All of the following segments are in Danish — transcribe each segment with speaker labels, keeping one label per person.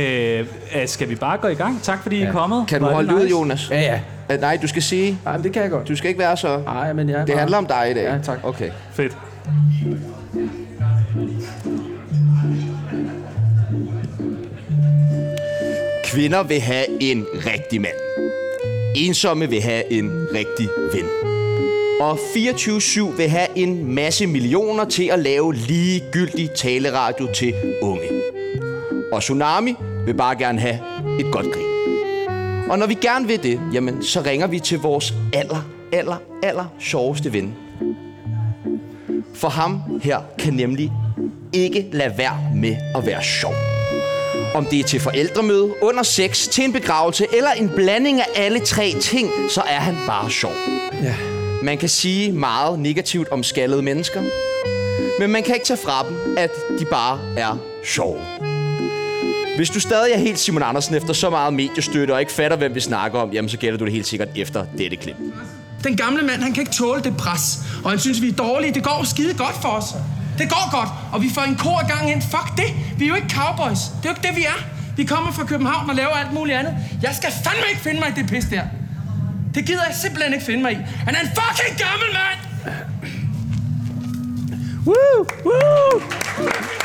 Speaker 1: Øh, øh, skal vi bare gå i gang? Tak fordi ja. I er kommet.
Speaker 2: Kan du
Speaker 1: Var det
Speaker 2: holde nice. ud,
Speaker 1: nice?
Speaker 2: Jonas?
Speaker 3: Ja, ja.
Speaker 2: Øh, Nej, du skal sige...
Speaker 3: Ej, men det kan jeg godt.
Speaker 2: Du skal ikke være så...
Speaker 3: Nej, men jeg... er
Speaker 2: Det
Speaker 3: bare-
Speaker 2: handler om dig i dag.
Speaker 3: Ja, tak.
Speaker 2: Okay.
Speaker 1: Fedt.
Speaker 2: Kvinder vil have en rigtig mand. Ensomme vil have en rigtig ven. Og 24-7 vil have en masse millioner til at lave ligegyldig taleradio til unge. Og Tsunami vil bare gerne have et godt grin. Og når vi gerne vil det, jamen, så ringer vi til vores aller, aller, aller sjoveste ven. For ham her kan nemlig ikke lade være med at være sjov. Om det er til forældremøde, under sex, til en begravelse eller en blanding af alle tre ting, så er han bare sjov.
Speaker 3: Ja.
Speaker 2: Man kan sige meget negativt om skaldede mennesker, men man kan ikke tage fra dem, at de bare er sjove. Hvis du stadig er helt Simon Andersen efter så meget mediestøtte og ikke fatter, hvem vi snakker om, jamen så gætter du det helt sikkert efter dette klip.
Speaker 4: Den gamle mand, han kan ikke tåle det pres. Og han synes, vi er dårlige. Det går skide godt for os. Det går godt, og vi får en kor gang ind. Fuck det. Vi er jo ikke cowboys. Det er jo ikke det, vi er. Vi kommer fra København og laver alt muligt andet. Jeg skal fandme ikke finde mig i det pis der. Det gider jeg simpelthen ikke finde mig i. Han er en fucking gammel mand!
Speaker 1: Woo! Woo!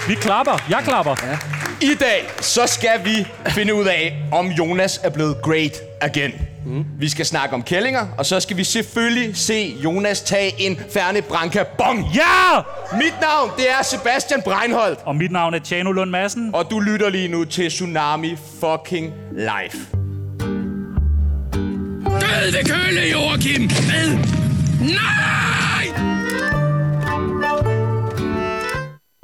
Speaker 1: Vi klapper. Jeg klapper. Ja.
Speaker 2: I dag, så skal vi finde ud af, om Jonas er blevet great again. Mm. Vi skal snakke om kællinger, og så skal vi selvfølgelig se Jonas tage en færne branca bong.
Speaker 1: ja!
Speaker 2: Mit navn, det er Sebastian Breinholt,
Speaker 1: Og mit navn er Tjano Lund Madsen.
Speaker 2: og du lytter lige nu til Tsunami Fucking Life.
Speaker 4: Død ved køle, Joachim! Hvad? Nej!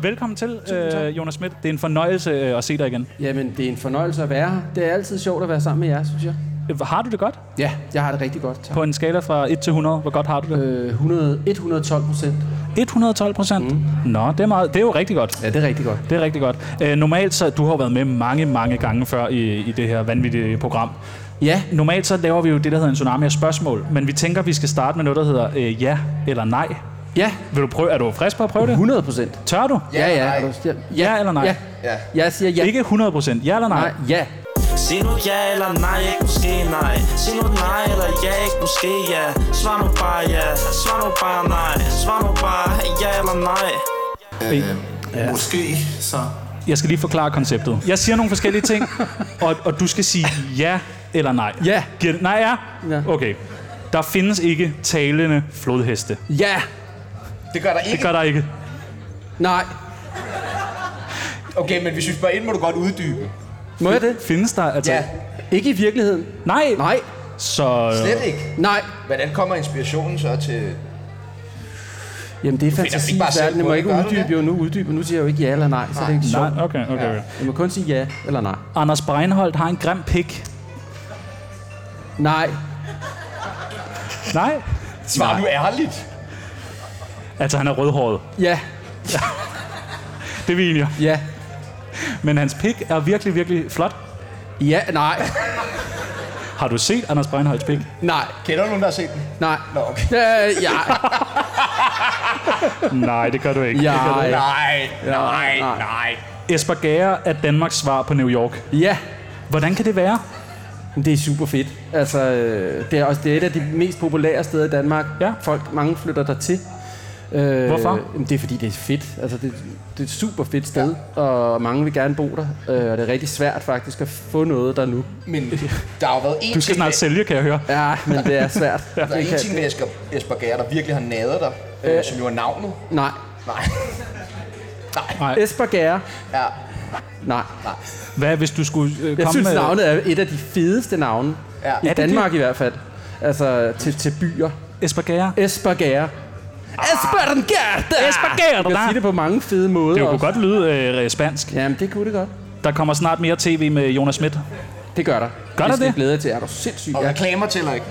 Speaker 1: Velkommen til, øh, Jonas Schmidt. Det er en fornøjelse øh, at se dig igen.
Speaker 3: Jamen, det er en fornøjelse at være her. Det er altid sjovt at være sammen med jer, synes jeg.
Speaker 1: Øh, Har du det godt?
Speaker 3: Ja, jeg har det rigtig godt. Tak.
Speaker 1: På en skala fra 1 til 100, hvor godt har du det?
Speaker 3: Øh, 100, 112 procent.
Speaker 1: 112 procent? Mm. Nå, det er, meget, det er jo rigtig godt.
Speaker 3: Ja, det er rigtig godt.
Speaker 1: Det er rigtig godt. Øh, normalt så, du har jo været med mange, mange gange før i, i det her vanvittige program.
Speaker 3: Ja,
Speaker 1: Normalt så laver vi jo det, der hedder en tsunami af spørgsmål, men vi tænker, vi skal starte med noget, der hedder øh, ja eller nej.
Speaker 3: ja.
Speaker 1: Vil du prøve, er du frisk på at prøve det?
Speaker 3: 100 procent.
Speaker 1: Tør du?
Speaker 3: Ja, ja.
Speaker 2: nej.
Speaker 3: Er du-
Speaker 1: Ja eller nej?
Speaker 3: Ja.
Speaker 2: Ja.
Speaker 3: Jeg siger ja.
Speaker 1: Ikke 100 procent. Ja eller nej?
Speaker 3: Nej,
Speaker 1: nej?
Speaker 3: ja.
Speaker 5: Sig nu ja eller nej, ikke måske nej Sig nu nej eller ja, ikke måske ja Svar nu bare ja, svar nu bare nej Svar nu bare ja eller nej
Speaker 6: Måske, så.
Speaker 1: Jeg skal lige forklare konceptet. Jeg siger nogle forskellige ting, og, og du skal sige ja eller nej.
Speaker 3: Ja.
Speaker 1: Giver det, nej, ja?
Speaker 3: Ja.
Speaker 1: Okay. Der findes ikke talende flodheste.
Speaker 3: Ja.
Speaker 2: Det gør der
Speaker 1: Det
Speaker 2: ikke.
Speaker 1: gør der ikke.
Speaker 3: Nej.
Speaker 2: Okay, men hvis vi spørger ind, må du godt uddybe.
Speaker 3: Må jeg det?
Speaker 1: Findes der altså...
Speaker 2: Ja,
Speaker 3: Ikke i virkeligheden.
Speaker 1: Nej.
Speaker 3: Nej.
Speaker 1: Så...
Speaker 2: slet ikke.
Speaker 3: Nej.
Speaker 2: Hvordan kommer inspirationen så til...
Speaker 3: Jamen, det er
Speaker 2: finder ikke bare selv
Speaker 3: fantasiverdenen. Jeg må
Speaker 2: på
Speaker 3: jeg ikke
Speaker 2: det, gør du
Speaker 3: uddybe
Speaker 2: det?
Speaker 3: jo nu uddybe. Nu siger jeg jo ikke ja eller nej, så det er ikke sjovt.
Speaker 1: Nej, okay, okay. Ja.
Speaker 3: Jeg må kun sige ja eller nej.
Speaker 1: Anders Breinholt har en grim pik.
Speaker 3: Nej.
Speaker 1: Nej.
Speaker 2: Svar nu ærligt.
Speaker 1: Altså, han er rødhåret.
Speaker 3: Ja.
Speaker 1: Det er vi enige om.
Speaker 3: Ja.
Speaker 1: Men hans pik er virkelig, virkelig flot.
Speaker 3: Ja, nej.
Speaker 1: Har du set Anders Breinholts pik?
Speaker 3: Nej.
Speaker 2: Kender du nogen, der har set den?
Speaker 3: Nej.
Speaker 2: Nå, okay.
Speaker 3: Øh, ja.
Speaker 1: Nej, det gør du ikke.
Speaker 3: Ja.
Speaker 2: Nej, nej,
Speaker 3: nej.
Speaker 2: nej.
Speaker 1: Esper Gager er Danmarks svar på New York.
Speaker 3: Ja.
Speaker 1: Hvordan kan det være?
Speaker 3: Men Det er super fedt. Altså, øh, det er, også, det er et af de mest populære steder i Danmark.
Speaker 1: Ja.
Speaker 3: Folk, mange flytter der til. Øh,
Speaker 1: Hvorfor?
Speaker 3: Jamen, det er fordi, det er fedt. Altså, det, det er et super fedt sted, ja. og mange vil gerne bo der. Øh, og det er rigtig svært faktisk at få noget der nu.
Speaker 2: Men der har jo været en
Speaker 1: Du skal
Speaker 2: ting,
Speaker 1: snart sælge, kan jeg høre.
Speaker 3: Ja, men det er svært. ja.
Speaker 2: Altså, der er en ting ved Esper, Esper Gær, der virkelig har nadet dig, øh, som jo er navnet.
Speaker 3: Nej.
Speaker 2: Nej.
Speaker 3: Esper Gære.
Speaker 2: Ja.
Speaker 3: Nej.
Speaker 1: Hvad hvis du skulle øh, komme
Speaker 3: Jeg synes,
Speaker 1: med...
Speaker 3: navnet er et af de fedeste navne.
Speaker 2: Ja. Er
Speaker 3: I
Speaker 2: det
Speaker 3: Danmark i hvert fald. Altså, til, til byer.
Speaker 1: Esper Gager.
Speaker 3: Esper Gære. Esper Gære!
Speaker 1: Esper Gære,
Speaker 3: Du kan
Speaker 1: der.
Speaker 3: sige det på mange fede måder.
Speaker 1: Det kunne
Speaker 3: også.
Speaker 1: godt lyde øh, spansk.
Speaker 3: Jamen, det kunne det godt.
Speaker 1: Der kommer snart mere tv med Jonas Schmidt.
Speaker 3: Det gør der.
Speaker 1: der
Speaker 3: det? skal
Speaker 1: det?
Speaker 3: I glæde jer til. Er du sindssyg?
Speaker 2: Og
Speaker 3: Ja.
Speaker 2: reklamer tæller ikke.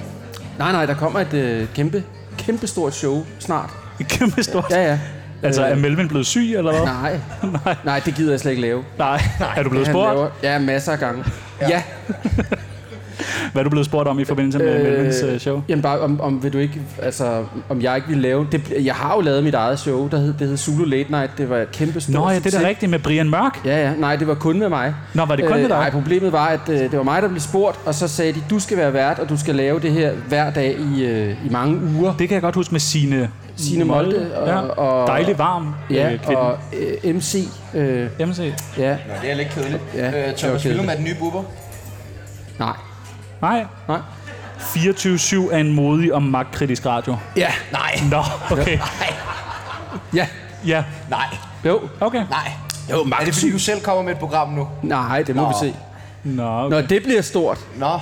Speaker 3: Nej, nej, der kommer et øh, kæmpe, kæmpe stort show snart.
Speaker 1: Et Kæmpe stort.
Speaker 3: Ja, ja.
Speaker 1: Altså,
Speaker 3: Øh,
Speaker 1: er Melvin blevet syg, eller hvad?
Speaker 3: Nej.
Speaker 1: Nej.
Speaker 3: Nej, det gider jeg slet ikke lave.
Speaker 1: Nej. Er du blevet
Speaker 3: Han
Speaker 1: spurgt?
Speaker 3: laver- Ja, masser af gange. Ja. ja.
Speaker 1: Hvad er du blevet spurgt om i forbindelse med øh, Melvins øh, show?
Speaker 3: Jamen bare, om, om, vil du ikke, altså, om jeg ikke vil lave... Det, jeg har jo lavet mit eget show, der hed, det hed Zulu Late Night. Det var et kæmpe stort
Speaker 1: Nå ja, det er da
Speaker 3: succes.
Speaker 1: rigtigt med Brian Mørk.
Speaker 3: Ja, ja. Nej, det var kun med mig. Øh,
Speaker 1: Nå, var det kun med dig?
Speaker 3: Nej, problemet var, at øh, det var mig, der blev spurgt, og så sagde de, du skal være vært, og du skal lave det her hver dag i, øh, i mange uger.
Speaker 1: Det kan jeg godt huske med sine
Speaker 3: Signe Molde og-
Speaker 1: ja.
Speaker 3: og-
Speaker 1: Dejlig varm
Speaker 3: Ja,
Speaker 1: øh, kvinde.
Speaker 3: og øh, MC. Øh,
Speaker 1: MC.
Speaker 3: ja,
Speaker 2: Nå, det er lidt kedeligt.
Speaker 3: Ja,
Speaker 2: Ja, øh,
Speaker 3: det var
Speaker 2: Thomas Willum
Speaker 3: kedeligt.
Speaker 2: er den nye bubber.
Speaker 3: nej.
Speaker 1: Nej.
Speaker 3: Nej.
Speaker 1: 24-7 er en modig og magtkritisk radio.
Speaker 3: Ja,
Speaker 2: Nej,
Speaker 1: Nå, okay.
Speaker 3: ja,
Speaker 1: Ja,
Speaker 2: nej,
Speaker 3: jo,
Speaker 1: okay.
Speaker 2: nej. Jo, Max. Er det fordi, du selv kommer med et program nu?
Speaker 3: nej, det må Nå.
Speaker 2: Nå.
Speaker 3: vi se.
Speaker 1: Nå, okay.
Speaker 3: Når det bliver stort,
Speaker 2: Nå,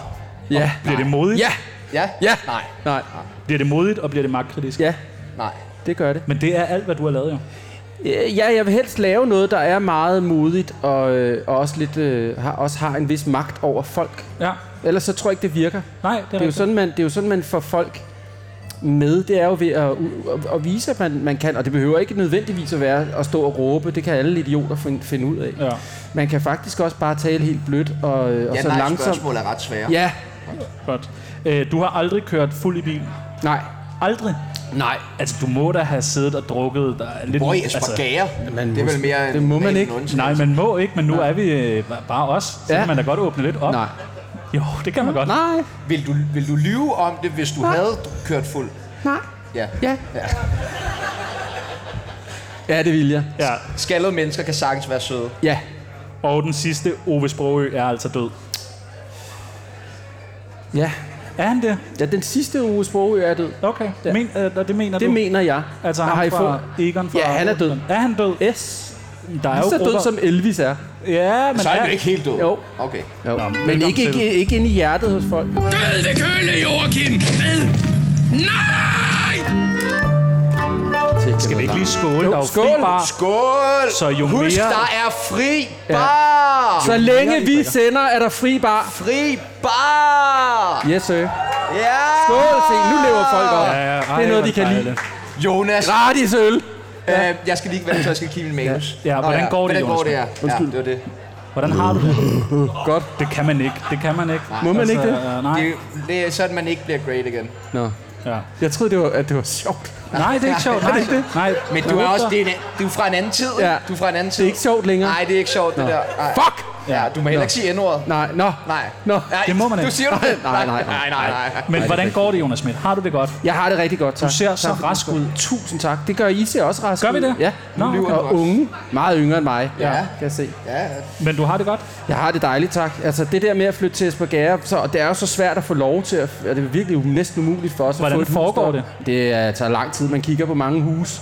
Speaker 3: ja,
Speaker 1: Bliver det modigt?
Speaker 3: ja,
Speaker 2: ja?
Speaker 3: ja,
Speaker 2: Nej,
Speaker 3: nej,
Speaker 1: Bliver det modigt, og bliver det magtkritisk?
Speaker 3: ja,
Speaker 2: nej.
Speaker 3: det gør det.
Speaker 1: Men det er alt, hvad du har lavet, jo.
Speaker 3: Øh, Ja, jeg vil helst lave noget, der er meget modigt og, øh, og også, lidt, øh, har, også har en vis magt over folk.
Speaker 1: Ja.
Speaker 3: Ellers så tror jeg ikke, det virker.
Speaker 1: Nej, det er,
Speaker 3: Det er jo sådan, man, det er jo sådan, man får folk med. Det er jo ved at, u- at, at vise, at man, man kan. Og det behøver ikke nødvendigvis at være at stå og råbe. Det kan alle idioter fin, finde ud af.
Speaker 1: Ja.
Speaker 3: Man kan faktisk også bare tale helt blødt og, øh, og
Speaker 2: Ja,
Speaker 3: så
Speaker 2: nej,
Speaker 3: langsomt.
Speaker 2: spørgsmål er ret svære.
Speaker 3: Ja,
Speaker 1: Godt. Øh, du har aldrig kørt fuld i bil.
Speaker 3: nej.
Speaker 1: Aldrig.
Speaker 3: Nej.
Speaker 1: Altså, du må da have siddet og drukket dig lidt... Altså,
Speaker 2: Hvor er Espargager?
Speaker 3: Altså, man
Speaker 2: det er
Speaker 3: må-
Speaker 2: vel mere en-
Speaker 3: det må man
Speaker 2: en
Speaker 3: ikke.
Speaker 2: undtagelse.
Speaker 1: Nej, man må ikke, men nu er vi øh, ba- bare os. Så
Speaker 3: Ja.
Speaker 1: ja. kan man da godt åbne lidt op.
Speaker 3: Nej.
Speaker 1: Jo, det kan man godt.
Speaker 3: Nej.
Speaker 2: Vil du, vil du lyve om det, hvis du havde kørt fuld?
Speaker 3: Nej.
Speaker 2: Ja.
Speaker 3: Ja.
Speaker 2: ja.
Speaker 3: Ja, det vil jeg.
Speaker 1: Ja.
Speaker 2: Skaldede mennesker kan sagtens være søde.
Speaker 3: Ja.
Speaker 1: Og den sidste, Ove Sprogø, er altså død.
Speaker 3: Ja.
Speaker 1: Er han det?
Speaker 3: Ja, den sidste uge sprogø er død.
Speaker 1: Okay.
Speaker 3: Ja.
Speaker 1: Men, øh, og det mener
Speaker 3: Det
Speaker 1: du?
Speaker 3: mener jeg.
Speaker 1: altså,
Speaker 3: Der
Speaker 1: ham
Speaker 3: har I
Speaker 1: fra
Speaker 3: fået-
Speaker 1: Egon fra...
Speaker 3: Ja, han er død.
Speaker 1: Er han død?
Speaker 3: S.
Speaker 1: Der er
Speaker 3: Lige
Speaker 1: jo
Speaker 3: så død,
Speaker 1: grupper-
Speaker 3: som Elvis er.
Speaker 1: Ja, men
Speaker 2: Så er
Speaker 1: er-
Speaker 2: han jo ikke helt død.
Speaker 3: Jo.
Speaker 2: Okay.
Speaker 3: Jo.
Speaker 1: Nå,
Speaker 3: Men
Speaker 1: velkommen
Speaker 3: ikke,
Speaker 1: til.
Speaker 3: ikke, ikke inde i hjertet hos folk.
Speaker 4: Gad det køle, Joachim! Hvad? Nej!
Speaker 1: Skal vi ikke lige skåle?
Speaker 3: Jo,
Speaker 1: Der er jo fri
Speaker 3: skål.
Speaker 1: bar.
Speaker 2: Skål!
Speaker 1: Så jo
Speaker 2: Husk,
Speaker 1: mere-
Speaker 2: der er fri bar!
Speaker 3: Så længe vi sender, er der fri bar.
Speaker 2: Fri bar!
Speaker 3: Yes, sir.
Speaker 2: Ja!
Speaker 3: Skål, se. Nu lever folk op.
Speaker 1: Ja, ja, ej,
Speaker 3: det er noget, de
Speaker 1: hvor
Speaker 3: kan lide.
Speaker 1: dejligt.
Speaker 2: Jonas,
Speaker 3: Gratis øl.
Speaker 2: øh, jeg skal lige ikke vente, så jeg skal kigge min manus.
Speaker 1: Ja,
Speaker 2: Nå
Speaker 1: hvordan går det,
Speaker 2: hvordan
Speaker 1: Jonas?
Speaker 2: Går det, ja. ja, det var det.
Speaker 1: Hvordan har du det?
Speaker 3: Godt.
Speaker 1: Det kan man ikke. Det kan man ikke.
Speaker 3: Må man ikke det?
Speaker 1: øh, nej.
Speaker 2: Det, er- det er sådan, man ikke bliver great igen.
Speaker 3: Nå.
Speaker 1: Ja.
Speaker 3: Jeg troede, det var, at det var sjovt.
Speaker 1: Nej, det er ikke sjovt. Nej, det det? nej.
Speaker 2: Men du er også det er, en, du er fra en anden tid.
Speaker 3: Ja.
Speaker 2: Du er fra en anden tid.
Speaker 3: Det er ikke sjovt længere.
Speaker 2: Nej, det er ikke sjovt, det der. Nej.
Speaker 3: Fuck!
Speaker 2: Ja, du må heller ikke sige endordet.
Speaker 3: Nej, nå.
Speaker 2: Nej.
Speaker 3: Nå.
Speaker 2: Nej.
Speaker 1: Det må man ikke.
Speaker 2: Du siger du det?
Speaker 3: Nej, nej, nej.
Speaker 2: nej, nej, nej.
Speaker 1: Men hvordan går det, Jonas Schmidt? Har du det godt?
Speaker 3: Jeg har det rigtig godt, tak.
Speaker 1: Du ser så
Speaker 3: Tak for
Speaker 1: rask
Speaker 3: det.
Speaker 1: ud.
Speaker 3: Tusind tak. Det gør I ser også rask
Speaker 1: Gør vi
Speaker 3: ud.
Speaker 1: det?
Speaker 3: Ja.
Speaker 1: Nå, okay.
Speaker 3: Og unge. Meget yngre end mig.
Speaker 2: Ja.
Speaker 3: Kan jeg se.
Speaker 2: Ja,
Speaker 1: Men du har det godt?
Speaker 3: Jeg har det dejligt, tak. Altså, det der med at flytte til Esbjerg, så og det er jo så svært at få lov til, at, og det er virkelig u- næsten umuligt for os
Speaker 1: Hvordan
Speaker 3: at få et
Speaker 1: foregår
Speaker 3: hus der. Det er, tager lang tid. Man kigger på mange hus,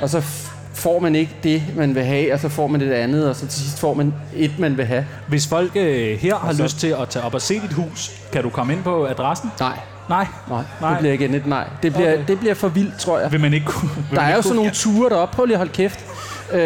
Speaker 3: og så f- får man ikke det, man vil have, og så får man det andet, og så til sidst får man et, man vil have.
Speaker 1: Hvis folk øh, her
Speaker 3: Altså-
Speaker 1: har lyst til at tage op og se dit hus, kan du komme ind på adressen?
Speaker 3: Nej,
Speaker 1: Nej.
Speaker 3: nej, nej. det
Speaker 1: Nej.
Speaker 3: bliver igen et nej. Det bliver,
Speaker 1: Okay.
Speaker 3: okay. det bliver for vildt, tror jeg.
Speaker 1: Vil man ikke kunne? Vil
Speaker 3: Der
Speaker 1: man
Speaker 3: er
Speaker 1: ikke
Speaker 3: jo
Speaker 1: kunne-
Speaker 3: sådan nogle ture deroppe. Prøv lige at holde kæft. Øh,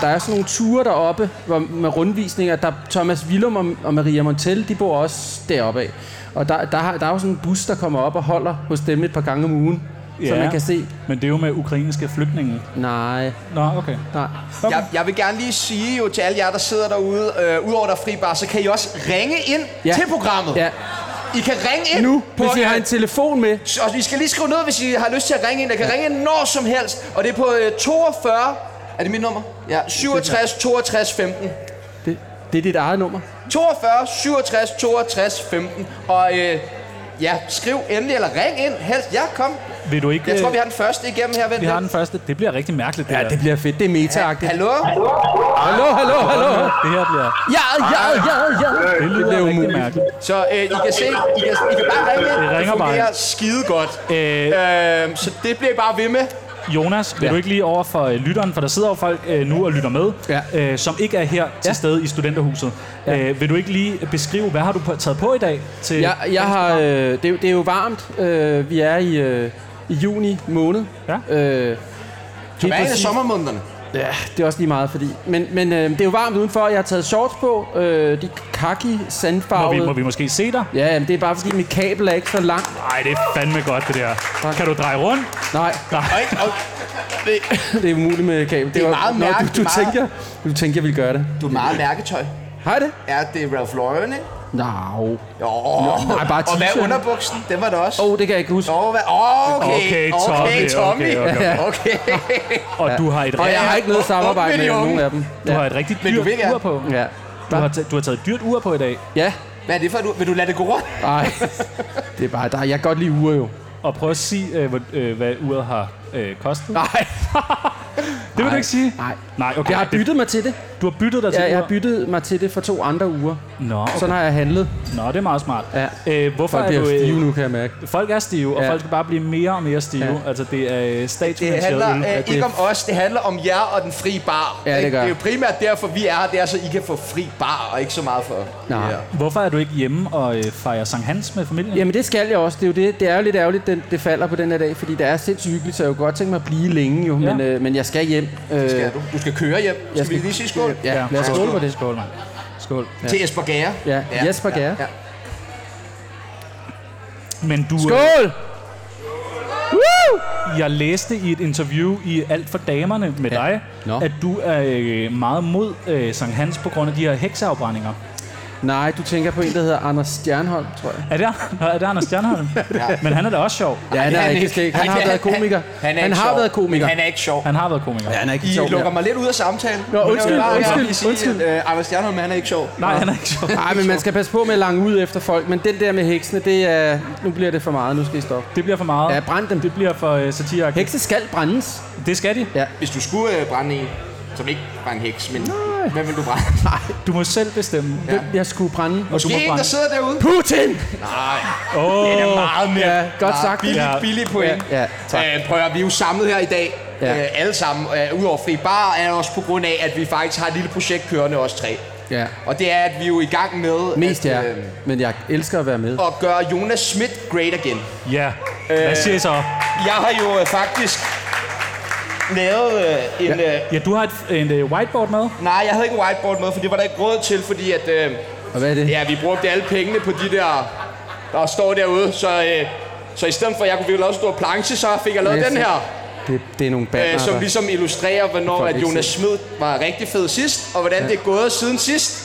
Speaker 3: der er sådan nogle ture deroppe hvor, med rundvisninger. Der Thomas Willum og, og Maria Montel, de bor også deroppe af. Og der, der, har- der er jo sådan en bus, der kommer op og holder hos dem et par gange om ugen. Ja. Så
Speaker 1: Ja.
Speaker 3: man kan se,
Speaker 1: Men det er jo med ukrainske flygtninge.
Speaker 3: nej,
Speaker 1: Nå, okay.
Speaker 3: nej.
Speaker 1: Okay.
Speaker 2: Jeg, jeg vil gerne lige sige jo til alle jer, der sidder derude, øh, udover der er fri bar, så kan I også ringe ind
Speaker 3: Ja.
Speaker 2: ja. til programmet.
Speaker 3: Ja.
Speaker 2: I kan ringe ind
Speaker 3: Nu,
Speaker 2: på...
Speaker 3: hvis I har en telefon med.
Speaker 2: Og I skal lige skrive ned, hvis I har lyst til at ringe ind. Jeg kan ringe ind når som helst, og det er på øh, 42... Er det mit nummer? Ja, 67 62 15.
Speaker 3: Det, det er dit eget nummer.
Speaker 2: 42 67 62 15. Og øh, ja, skriv endelig, eller ring ind helst. Ja, kom.
Speaker 1: Vil du ikke...
Speaker 2: Jeg tror, vi
Speaker 1: øh,
Speaker 2: har den første igennem her. Vent
Speaker 1: vi har
Speaker 2: lidt.
Speaker 1: den første. Det bliver rigtig mærkeligt, det
Speaker 3: Ja,
Speaker 1: her.
Speaker 3: det bliver fedt. Det er meta-agtigt.
Speaker 2: Hallo?
Speaker 3: Hallo, hallo, hallo.
Speaker 1: Det her bliver...
Speaker 3: Ja, ja, ja, ja.
Speaker 1: Det
Speaker 3: bliver
Speaker 1: lyder rigtig
Speaker 3: umuligt.
Speaker 1: mærkeligt.
Speaker 2: Så øh, I kan se, I kan, I kan bare ringe ind.
Speaker 1: Det ringer bare.
Speaker 2: fungerer skide godt.
Speaker 1: Øh,
Speaker 2: Øh, så det bliver I bare ved med.
Speaker 1: Jonas, vil
Speaker 3: Ja.
Speaker 1: ja. du ikke lige over for øh, lytteren, for der sidder jo folk øh, nu og lytter med,
Speaker 3: Ja.
Speaker 1: øh, som ikke er her til
Speaker 3: Ja.
Speaker 1: ja. stede i studenterhuset. Ja. Øh, vil du ikke lige beskrive, hvad har du på, taget på i dag? Til
Speaker 3: Jeg, jeg har, øh, det, er jo- det er jo varmt. Øh, vi er i, øh, i juni måned.
Speaker 1: Ja.
Speaker 3: Øh,
Speaker 2: Hvad er det
Speaker 3: præcis.
Speaker 2: sommermånederne?
Speaker 3: Ja, det er også lige meget, fordi... Men, men øh, det er jo varmt udenfor. Jeg har taget shorts på. Øh, de kaki
Speaker 1: må, vi,
Speaker 3: sandfarvede.
Speaker 1: må vi måske se dig?
Speaker 3: Ja, jamen, det er bare fordi, mit kabel er ikke så langt.
Speaker 1: Nej, det er fandme godt, det der. Kan du dreje rundt?
Speaker 3: Nej,
Speaker 2: Ej, og, det,
Speaker 3: det er umuligt med kabel.
Speaker 2: Det er meget
Speaker 3: Nå,
Speaker 2: mærkeligt,
Speaker 3: Du, du,
Speaker 2: meget-
Speaker 3: tænker, du tænker, jeg ville gøre det.
Speaker 2: du er meget mærketøj.
Speaker 3: Har I det?
Speaker 2: Ja, det er Ralph Lauren, ikke?
Speaker 3: No.
Speaker 2: Jo.
Speaker 3: nej, bare
Speaker 2: og hvad
Speaker 3: t-shirten.
Speaker 2: er underbuksen? Den var der også.
Speaker 3: Åh, oh, det kan jeg ikke huske.
Speaker 2: Åh, hvad? Åh, okay.
Speaker 1: Okay, Tommy,
Speaker 2: Okay, Tommy.
Speaker 1: okay,
Speaker 2: Okay. okay.
Speaker 1: Og du har et,
Speaker 3: Og jeg
Speaker 1: rigtig-
Speaker 3: har ikke noget
Speaker 2: Op- op
Speaker 3: samarbejde
Speaker 2: med
Speaker 3: med
Speaker 2: de unge.
Speaker 3: nogen af dem.
Speaker 1: du har
Speaker 3: Ja.
Speaker 1: et rigtig
Speaker 2: Men du vil
Speaker 1: dyrt
Speaker 2: gerne.
Speaker 1: ur på.
Speaker 3: ja.
Speaker 1: Du har, ta- du har taget et dyrt ur på i dag,
Speaker 3: Ja.
Speaker 2: Hvad er det for et ur? Vil du lade det gå rundt?
Speaker 3: Nej. Det er bare, der, jeg kan godt lide uger jo.
Speaker 1: og prøv at sige, øh, hvor, øh, hvad uret har øh, kostet.
Speaker 3: Nej.
Speaker 1: det vil du ikke sige?
Speaker 3: Nej.
Speaker 1: Nej, okay.
Speaker 3: Jeg har byttet mig til det.
Speaker 1: Du har byttet dig til
Speaker 3: Ja, jeg har
Speaker 1: uret?
Speaker 3: byttet mig til det for to andre uger.
Speaker 1: Nå, okay.
Speaker 3: Sådan har jeg handlet.
Speaker 1: Nå, det er meget smart.
Speaker 3: Ja.
Speaker 1: Øh, hvorfor
Speaker 3: Folk
Speaker 1: er
Speaker 3: bliver
Speaker 1: du...
Speaker 3: stive
Speaker 1: Øh,
Speaker 3: nu, kan jeg mærke.
Speaker 1: folk er stive, og
Speaker 3: Ja.
Speaker 1: folk skal bare blive mere og mere stive.
Speaker 3: Ja.
Speaker 1: Altså, det er øh,
Speaker 2: Det
Speaker 1: statsfinansieret
Speaker 2: handler
Speaker 1: øl.
Speaker 2: øh,
Speaker 3: det-
Speaker 2: ikke om os, det handler om jer og den frie bar.
Speaker 3: Ja, det
Speaker 2: Ikke?
Speaker 3: gør
Speaker 2: det er jo primært derfor, vi er her, det er, så I kan få fri bar, og ikke så meget for...
Speaker 3: Nej.
Speaker 2: Ja.
Speaker 1: Hvorfor er du ikke hjemme og øh, fejrer Sankt Hans med familien?
Speaker 3: Jamen det skal jeg også. Det er jo det. Det er jo lidt ærgerligt, den, det falder på den her dag, fordi det er sindssygt hyggeligt, så jeg kunne godt tænke mig at blive længe jo,
Speaker 1: Ja.
Speaker 3: ja. men, øh, men jeg skal hjem. Øh,
Speaker 2: Skal du? du skal køre hjem. Skal, skal vi
Speaker 3: skal-
Speaker 2: lige sige skål?
Speaker 3: ja, lad os skåle på det.
Speaker 1: Skål, mand. Skål.
Speaker 2: Ja. Til Jesper Gære.
Speaker 3: Ja, Jesper Gære.
Speaker 2: Ja.
Speaker 1: Men du,
Speaker 3: Skål! Woo!
Speaker 1: Øh, jeg læste i et interview i Alt for Damerne med ja.
Speaker 3: Ja.
Speaker 1: dig,
Speaker 3: Nå.
Speaker 1: at du er øh, meget mod øh, Sankt Hans på grund af de her hekseafbrændinger.
Speaker 3: Nej, du tænker på en, der hedder Anders Stjernholm, tror jeg.
Speaker 1: Er det, er det Anders Stjernholm? ja. Men han er da også sjov.
Speaker 3: Ja, han, er ikke skæg. Han har været komiker.
Speaker 2: Han, er
Speaker 3: han
Speaker 2: ikke
Speaker 3: har
Speaker 2: sjov,
Speaker 3: været komiker.
Speaker 2: men Han er ikke sjov.
Speaker 1: Han har været komiker. Ja,
Speaker 3: han er ikke
Speaker 2: I
Speaker 3: sjov
Speaker 2: lukker
Speaker 3: mere.
Speaker 2: mig lidt ud af samtalen.
Speaker 3: Nå, undskyld, undskyld, undskyld.
Speaker 2: At, øh, Anders Stjernholm, han er ikke sjov.
Speaker 1: Nej, han er ikke sjov.
Speaker 3: Nej, men man skal passe på med at lange ud efter folk. Men den der med heksene, det er... Nu bliver det for meget. Nu skal I stoppe.
Speaker 1: Det bliver for meget.
Speaker 3: Ja, brænd dem.
Speaker 1: Det bliver for øh, satire.
Speaker 3: Hekse skal brændes.
Speaker 1: Det skal de.
Speaker 2: Hvis du skulle øh, brænde en, som ikke var en heks, men hvem vil du brænde?
Speaker 1: Du må selv bestemme. Ja.
Speaker 3: Hvem jeg skulle brænde?
Speaker 1: Du
Speaker 2: Måske
Speaker 1: må
Speaker 2: en,
Speaker 1: brænde.
Speaker 2: der sidder derude.
Speaker 3: Putin!
Speaker 2: Det er meget mere.
Speaker 3: Ja, godt sagt.
Speaker 2: Billig,
Speaker 1: Ja.
Speaker 2: billig point.
Speaker 3: Ja, ja, tak.
Speaker 2: Øh, prøv at høre, vi er jo samlet her i dag,
Speaker 3: Ja.
Speaker 2: ja. øh, alle sammen, øh, udover Fri Bar, er også på grund af, at vi faktisk har et lille projekt kørende, os tre.
Speaker 3: Ja.
Speaker 2: Og det er, at vi er jo i gang med
Speaker 3: Mest
Speaker 2: at, øh,
Speaker 3: jer. Men jeg elsker at være med.
Speaker 2: at gøre Jonas Schmidt great again.
Speaker 1: ja. Hvad siger I så?
Speaker 2: Jeg har jo øh, faktisk lavet øh, en... Ja. Øh,
Speaker 1: Ja, du har et, en øh, whiteboard med.
Speaker 2: nej, jeg havde ikke whiteboard med, for det var der ikke råd til, fordi at... Øh,
Speaker 3: Og hvad er det?
Speaker 2: ja, vi brugte alle pengene på de der, der står derude, så... Øh, så i stedet for, at jeg kunne lave en stor planche, så fik jeg lavet
Speaker 3: Yes.
Speaker 2: den her.
Speaker 3: Det, det er nogle banner,
Speaker 2: øh, som
Speaker 3: der-
Speaker 2: ligesom illustrerer, hvornår
Speaker 3: Folk
Speaker 2: at
Speaker 3: ikke
Speaker 2: Jonas
Speaker 3: se.
Speaker 2: Schmidt var rigtig fed sidst, og hvordan ja. det er gået siden sidst.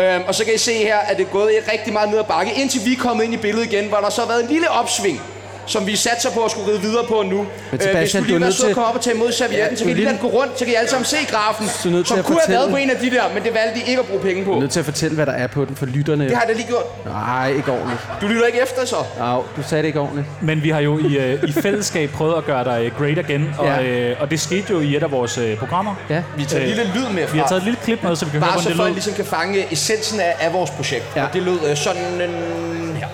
Speaker 2: Øhm, og så kan I se her, at det er gået rigtig meget ned ad bakke, indtil vi er kommet ind i billedet igen, hvor der så har været en lille opsving, som vi satser på at skulle ride videre på nu. Øh,
Speaker 3: Sebastian,
Speaker 2: hvis
Speaker 3: du
Speaker 2: du
Speaker 3: er
Speaker 2: lige vil
Speaker 3: nødt
Speaker 2: sød at
Speaker 3: til-
Speaker 2: komme op og tage imod servietten,
Speaker 3: Ja,
Speaker 2: så
Speaker 3: du
Speaker 2: kan I
Speaker 3: er
Speaker 2: lige lade
Speaker 3: lige-
Speaker 2: den gå rundt, så kan I alle sammen se grafen,
Speaker 3: er nødt til
Speaker 2: som
Speaker 3: at
Speaker 2: kunne have været på
Speaker 3: fortælle-
Speaker 2: en af de der, men det valgte de ikke at bruge penge
Speaker 3: Jeg er
Speaker 2: på.
Speaker 3: nødt til at fortælle, hvad der er på den for lytterne.
Speaker 2: Det har jeg da lige gjort.
Speaker 3: Nej, ikke ordentligt.
Speaker 2: Du lytter ikke efter så.
Speaker 3: Au, du sagde det ikke ordentligt.
Speaker 1: Men vi har jo i, øh, i fællesskab prøvet at gøre dig øh, great again, og,
Speaker 3: Ja.
Speaker 1: øh, og det skete jo i et af vores øh, programmer.
Speaker 3: Ja.
Speaker 2: Vi tager en
Speaker 1: Øh,
Speaker 2: lille lyd med
Speaker 1: Vi har taget
Speaker 2: fra.
Speaker 1: et lille klip med, så vi kan høre,
Speaker 2: Bare så
Speaker 1: hvordan
Speaker 2: folk
Speaker 1: det lød.
Speaker 2: ligesom kan fange essensen af, af vores projekt.
Speaker 3: Ja.
Speaker 2: Og det lød øh, sådan øh, her.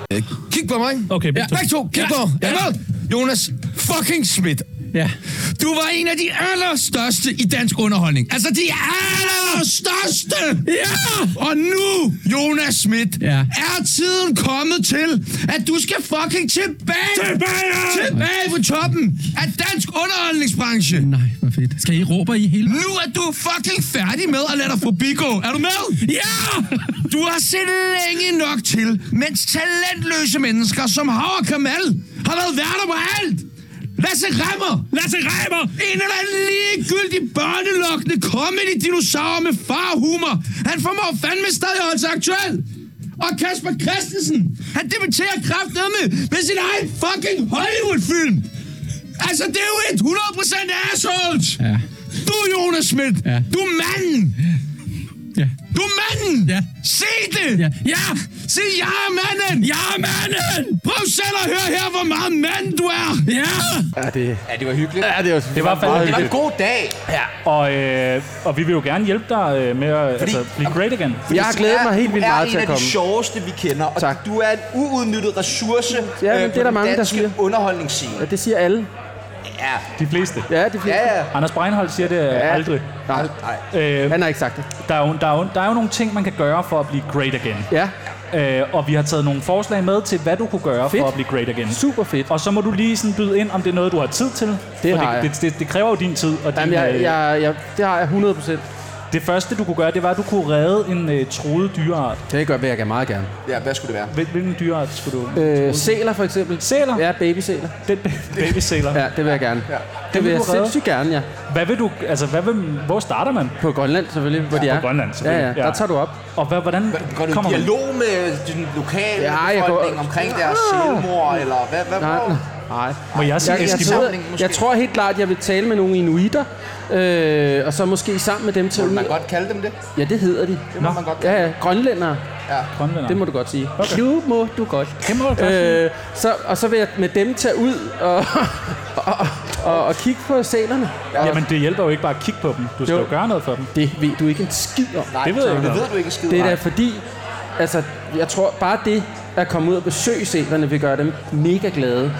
Speaker 7: Kig på mig.
Speaker 1: Okay,
Speaker 7: ja,
Speaker 1: begge to.
Speaker 7: begge to. Kig
Speaker 6: Ja.
Speaker 7: på mig.
Speaker 6: Ja.
Speaker 7: Ja. Jonas fucking Schmidt.
Speaker 6: Ja.
Speaker 7: Du var en af de allerstørste i dansk underholdning. Altså de allerstørste! Ja! Og nu, Jonas Schmidt,
Speaker 6: Ja.
Speaker 7: er tiden kommet til, at du skal fucking tilbage! Tilbage! Tilbage på toppen af dansk underholdningsbranche!
Speaker 6: Nej, hvor fedt. Skal I råbe i hele...
Speaker 7: Nu er du fucking færdig med at lade dig forbigå. Er du med? Ja! Du har set længe nok til, mens talentløse mennesker som Hav og Kamal har været værter på alt. Lasse Remmer! Lasse Remmer! En eller anden ligegyldig børnelokkende comedy-dinosaur med farhumor. Han formår fandme stadig at holde sig aktuel. Og Kasper Christensen, han debuterer kraftedeme med sin egen fucking Hollywood-film. Altså, det er jo et 100% assholes!
Speaker 6: Ja.
Speaker 7: Du, Jonas Schmidt!
Speaker 6: Ja.
Speaker 7: Du er manden!
Speaker 6: Ja.
Speaker 7: Du er manden!
Speaker 6: Ja.
Speaker 7: Se det!
Speaker 6: Ja.
Speaker 7: ja! Se, jeg er manden! Jeg er manden! Prøv selv at høre her, hvor meget mand du er! Ja!
Speaker 3: Ja, det,
Speaker 2: Ja, det var hyggeligt.
Speaker 3: ja, det, var,
Speaker 1: Det var fandme
Speaker 2: Det var en
Speaker 1: hyggeligt.
Speaker 2: god dag.
Speaker 1: Og, øh, og vi vil jo gerne hjælpe dig øh, med at Fordi, altså, blive great again.
Speaker 3: Jeg har glædet mig helt vildt meget til
Speaker 2: Du er
Speaker 3: at
Speaker 2: en af de
Speaker 3: komme.
Speaker 2: sjoveste, vi kender, og
Speaker 3: Tak.
Speaker 2: du er en uudnyttet ressource øh,
Speaker 3: Ja, men det er
Speaker 2: på
Speaker 3: der
Speaker 2: den
Speaker 3: mange, der
Speaker 2: danske
Speaker 3: siger.
Speaker 2: underholdningsscene.
Speaker 3: Ja, det siger alle.
Speaker 2: Ja,
Speaker 1: De fleste.
Speaker 3: Ja, de fleste.
Speaker 2: ja, ja.
Speaker 1: Anders Breinholt siger det ja. aldrig.
Speaker 3: Nej,
Speaker 1: Øh,
Speaker 3: han har ikke sagt det.
Speaker 1: der, er jo, der, er jo, der er jo nogle ting, man kan gøre for at blive great again.
Speaker 3: Ja,
Speaker 1: Øh, og vi har taget nogle forslag med til, hvad du kunne gøre
Speaker 3: Fedt.
Speaker 1: for at blive great again.
Speaker 3: super fedt.
Speaker 1: Og så må du lige sådan byde ind, om det er noget, du har tid til. For
Speaker 3: har jeg.
Speaker 1: det, det, det, det kræver jo din tid. Og din,
Speaker 3: Jamen, jeg,
Speaker 1: øh,
Speaker 3: jeg, jeg, det har jeg 100 procent.
Speaker 1: Det første, du kunne gøre, det var, at du kunne redde en øh, troet dyreart.
Speaker 3: Det gør, vil jeg gerne meget gerne.
Speaker 2: Ja, hvad skulle det være?
Speaker 1: Hvil- Hvilken dyreart skulle du...
Speaker 3: Øh, sæler for eksempel.
Speaker 1: Sæler?
Speaker 3: Ja, babysæler.
Speaker 1: Den ba- babysæler.
Speaker 3: Ja, det vil jeg gerne. Ja. Det vil
Speaker 1: vil
Speaker 3: jeg
Speaker 1: du redde?
Speaker 3: sindssygt gerne, ja.
Speaker 1: Hvad vil du... Altså, hvad vil, hvor starter man?
Speaker 3: På Grønland selvfølgelig, hvor ja, de
Speaker 1: på
Speaker 3: er.
Speaker 1: Grønland,
Speaker 3: ja,
Speaker 1: selvfølgelig.
Speaker 3: ja,
Speaker 1: Ja.
Speaker 3: der tager du op.
Speaker 1: Og hvad, hvordan
Speaker 2: Går du i
Speaker 1: kommer man?
Speaker 2: dialog med den lokale
Speaker 3: Ja,
Speaker 2: ja,
Speaker 3: jeg
Speaker 2: befolkning
Speaker 3: går- Ah!
Speaker 2: omkring deres selvmord, eller hvad? hvad
Speaker 3: Nej,
Speaker 2: hvor-
Speaker 3: nej.
Speaker 1: Må jeg sige
Speaker 3: Jeg, jeg,
Speaker 1: Eskimo?
Speaker 2: tror-
Speaker 3: tror,
Speaker 2: Samling måske.
Speaker 3: jeg tror helt klart, at jeg vil tale med nogle inuitter, øh, og så måske sammen med dem til ud.
Speaker 2: Man kan godt kalde dem det.
Speaker 3: Ja, det hedder de.
Speaker 2: Det må man godt kalde
Speaker 3: Ja, ja, grønlændere.
Speaker 1: Grønlænder.
Speaker 3: Det må du godt sige. Okay. Nu må du godt.
Speaker 1: Det må du godt sige.
Speaker 3: Øh, så, og så vil jeg med dem tage ud og, og, og, og kigge på sælerne.
Speaker 1: Jamen, det hjælper jo ikke bare at kigge på dem. Du skal
Speaker 3: Jo.
Speaker 1: jo gøre noget for dem.
Speaker 3: Det ved du ikke en skid om.
Speaker 1: Det ved jeg ikke
Speaker 2: Det
Speaker 1: noget
Speaker 2: ved du ikke en skid.
Speaker 3: Det er
Speaker 2: om.
Speaker 3: da fordi, altså, jeg tror bare det at komme ud og besøge sælerne vil gøre dem mega glade.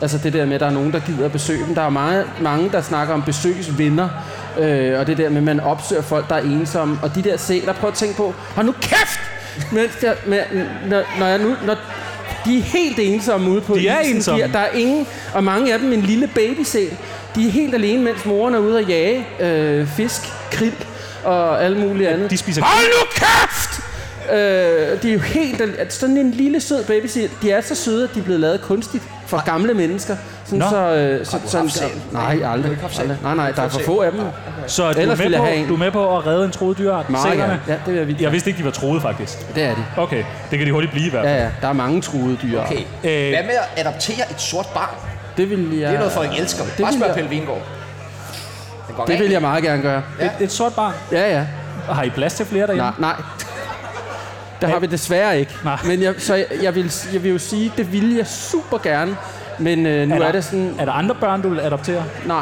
Speaker 3: Altså det der med, at der er nogen, der gider at besøge dem. Der er meget, mange, der snakker om besøgsvenner. Øh, og det der med, at man opsøger folk, der er ensomme. Og de der sæler, prøv at tænke på, hold nu kæft! Mens jeg, med, når, når jeg nu, når de er helt ensomme ude på
Speaker 1: De er
Speaker 3: isen.
Speaker 1: ensomme.
Speaker 3: De, der er ingen, og mange af dem en lille babysæl. De er helt alene, mens moren er ude og jage øh, fisk, krill og alt muligt andet.
Speaker 1: De spiser
Speaker 3: Hold nu kæft! Øh, det er jo helt... at Sådan en lille sød babysitter. De er så søde, at de er blevet lavet kunstigt for gamle mennesker. Sådan
Speaker 1: Nå.
Speaker 3: så... Øh, så sådan,
Speaker 2: haft sæl?
Speaker 3: nej, aldrig. aldrig. Nej, nej, der er for få af dem.
Speaker 1: Så du er,
Speaker 3: Ellers ville
Speaker 1: med
Speaker 3: jeg have en.
Speaker 1: på, du er med på at redde en troet dyreart?
Speaker 3: Meget
Speaker 1: Sælerne?
Speaker 3: gerne. Ja, det vil jeg vildt.
Speaker 1: Jeg vidste ikke, de var troet, faktisk.
Speaker 3: Det er de.
Speaker 1: Okay, det kan de hurtigt blive i hvert fald.
Speaker 3: Ja, ja, der er mange truede dyr.
Speaker 2: Okay.
Speaker 1: Øh,
Speaker 2: Hvad med at adoptere et sort barn?
Speaker 3: Det vil jeg...
Speaker 2: Det er noget, folk elsker.
Speaker 3: det
Speaker 2: Bare
Speaker 3: vil
Speaker 2: spørg
Speaker 3: jeg-
Speaker 2: Pelle Vingård. Den går
Speaker 3: Det
Speaker 2: rent.
Speaker 3: vil jeg meget gerne gøre.
Speaker 1: Et, et sort barn.
Speaker 3: Ja, ja.
Speaker 1: Har I plads til flere derhjemme?
Speaker 3: Nej, nej. Der har vi desværre ikke.
Speaker 1: Nej.
Speaker 3: Men jeg, så jeg, jeg, vil, jeg vil jo sige, det ville jeg super gerne. Men øh, nu
Speaker 1: Er
Speaker 3: er,
Speaker 1: der,
Speaker 3: det sådan...
Speaker 1: er der andre børn, du vil adoptere?
Speaker 3: Nej.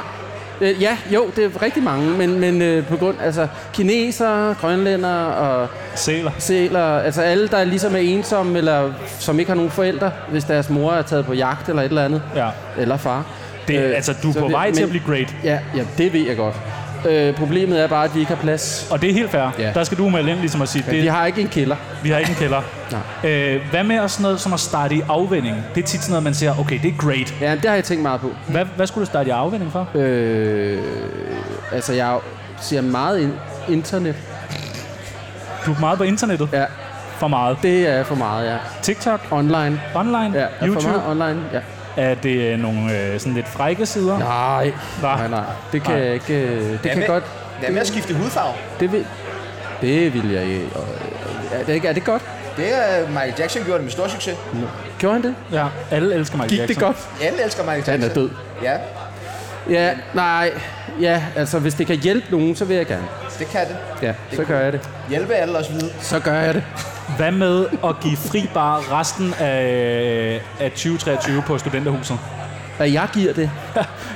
Speaker 3: Øh, ja, jo, det er rigtig mange, men, men øh, på grund altså kinesere, grønlænder og
Speaker 1: Sæler.
Speaker 3: sæler, altså alle, der ligesom er ensomme, eller som ikke har nogen forældre, hvis deres mor er taget på jagt eller et eller andet,
Speaker 1: Ja.
Speaker 3: eller far.
Speaker 1: Det, øh, altså, du
Speaker 3: så
Speaker 1: er på
Speaker 3: vi-
Speaker 1: vej til
Speaker 3: men-
Speaker 1: at blive great.
Speaker 3: Ja, ja, det ved jeg godt. Øh, problemet er bare, at vi ikke har plads.
Speaker 1: Og det er helt fair.
Speaker 3: Ja.
Speaker 1: Der skal du melde ind, ligesom at sige,
Speaker 3: Det... Vi
Speaker 1: det,
Speaker 3: har ikke en kælder.
Speaker 1: vi har ikke en kælder. Øh, hvad med også sådan noget som at starte i afvinding? Det er tit sådan noget, man siger, okay, det er great.
Speaker 3: Ja, det har jeg tænkt meget på.
Speaker 1: Hvad, hvad skulle du starte i afvinding for?
Speaker 3: Øh, altså, jeg ser meget ind internet.
Speaker 1: Du er meget på internettet.
Speaker 3: Ja,
Speaker 1: For meget.
Speaker 3: det er for meget, ja.
Speaker 1: TikTok,
Speaker 3: Online.
Speaker 1: online,
Speaker 3: Ja, er for
Speaker 1: YouTube.
Speaker 3: meget online, ja.
Speaker 1: Er det øh, nogle øh, sådan lidt frække sider?
Speaker 3: Nej,
Speaker 1: Hva?
Speaker 3: nej, nej. Det kan
Speaker 1: Nej.
Speaker 3: jeg ikke... øh, Det
Speaker 2: Hvad
Speaker 3: kan
Speaker 2: med,
Speaker 3: jeg godt...
Speaker 2: Hvad med at skifte hudfarve?
Speaker 3: Det vil... Det vil jeg ikke. og- øh, Er det, ikke, er det godt?
Speaker 2: Det er Michael Jackson gjorde det med stor succes.
Speaker 3: Gjorde han det?
Speaker 1: Ja, alle elsker Michael
Speaker 3: Gik
Speaker 1: Jackson.
Speaker 3: det godt?
Speaker 2: Alle elsker Michael Jackson.
Speaker 3: Han er død.
Speaker 2: Ja,
Speaker 3: Ja, nej. Ja, altså hvis det kan hjælpe nogen, så vil jeg gerne.
Speaker 2: det kan det.
Speaker 3: Ja, så gør jeg det.
Speaker 2: Hjælpe alle os hvide.
Speaker 3: Så gør jeg det.
Speaker 1: Hvad med at give fri bar resten af, af 2023 på studenterhuset?
Speaker 3: Hvad jeg giver det,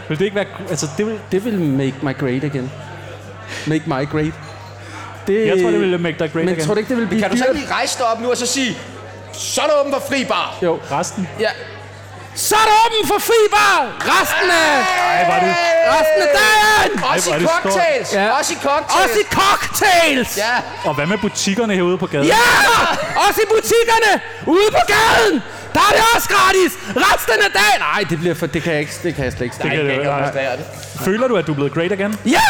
Speaker 1: vil det ikke være... Altså, det vil,
Speaker 3: det vil make my great again. Make my great. Det,
Speaker 1: jeg tror, det ville make dig great
Speaker 3: Øh, Men
Speaker 1: igen.
Speaker 3: tror du ikke, det vil blive
Speaker 2: Kan du så
Speaker 3: dyrt?
Speaker 2: ikke lige rejse dig op nu og så sige, så er der åben for fri bar.
Speaker 3: Jo.
Speaker 1: Resten?
Speaker 3: Ja. Så er der åben for fri bar! Resten af...
Speaker 1: Nej, var det...
Speaker 3: Resten af dagen!
Speaker 2: Også
Speaker 1: Ej,
Speaker 2: i
Speaker 1: hvor er det stort.
Speaker 2: cocktails.
Speaker 3: Ja.
Speaker 2: Også i cocktails.
Speaker 3: Også i cocktails!
Speaker 2: Ja,
Speaker 1: Og hvad med butikkerne herude på gaden?
Speaker 3: Ja! Også i butikkerne! Ude på gaden! Der er det også gratis! Resten af dagen! Nej, det bliver for... Det kan jeg, ikke, det kan jeg slet ikke
Speaker 1: Det
Speaker 3: stikke.
Speaker 1: kan
Speaker 2: jeg
Speaker 1: du-
Speaker 2: kan ikke
Speaker 1: nej.
Speaker 2: administrere det.
Speaker 1: Føler du, at du er blevet great igen?
Speaker 3: Ja!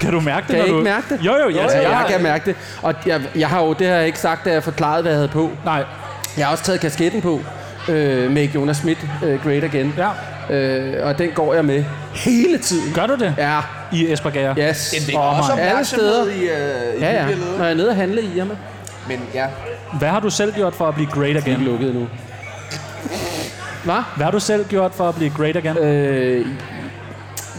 Speaker 1: Kan du mærke det?
Speaker 3: Kan
Speaker 1: når
Speaker 3: jeg
Speaker 1: du...
Speaker 3: ikke mærke det?
Speaker 1: Jo, jo, ja, altså,
Speaker 3: Altså, jeg
Speaker 1: jeg...
Speaker 3: kan mærke det. Og jeg, jeg har jo, det har jeg ikke sagt, da jeg forklarede, hvad jeg havde på.
Speaker 1: Nej,
Speaker 3: Jeg har også taget kasketten på øh, med Jonas Schmidt, øh, Great Again.
Speaker 1: ja.
Speaker 3: Øh, og den går jeg med hele tiden.
Speaker 1: Gør du det?
Speaker 3: Ja,
Speaker 1: I Esbergager?
Speaker 3: yes.
Speaker 2: Det
Speaker 1: Åh,
Speaker 2: er også
Speaker 1: mand.
Speaker 3: Alle steder.
Speaker 2: opmærksomhed i, øh, i
Speaker 3: Ja, ja.
Speaker 2: bybilledet.
Speaker 3: Når jeg er nede og handle i Irma.
Speaker 2: Men ja,
Speaker 1: Hvad har du selv gjort for at blive great
Speaker 3: Det
Speaker 1: again?
Speaker 3: er lukket nu. Hvad?
Speaker 1: Hvad har du selv gjort for at blive great again?
Speaker 3: Øh,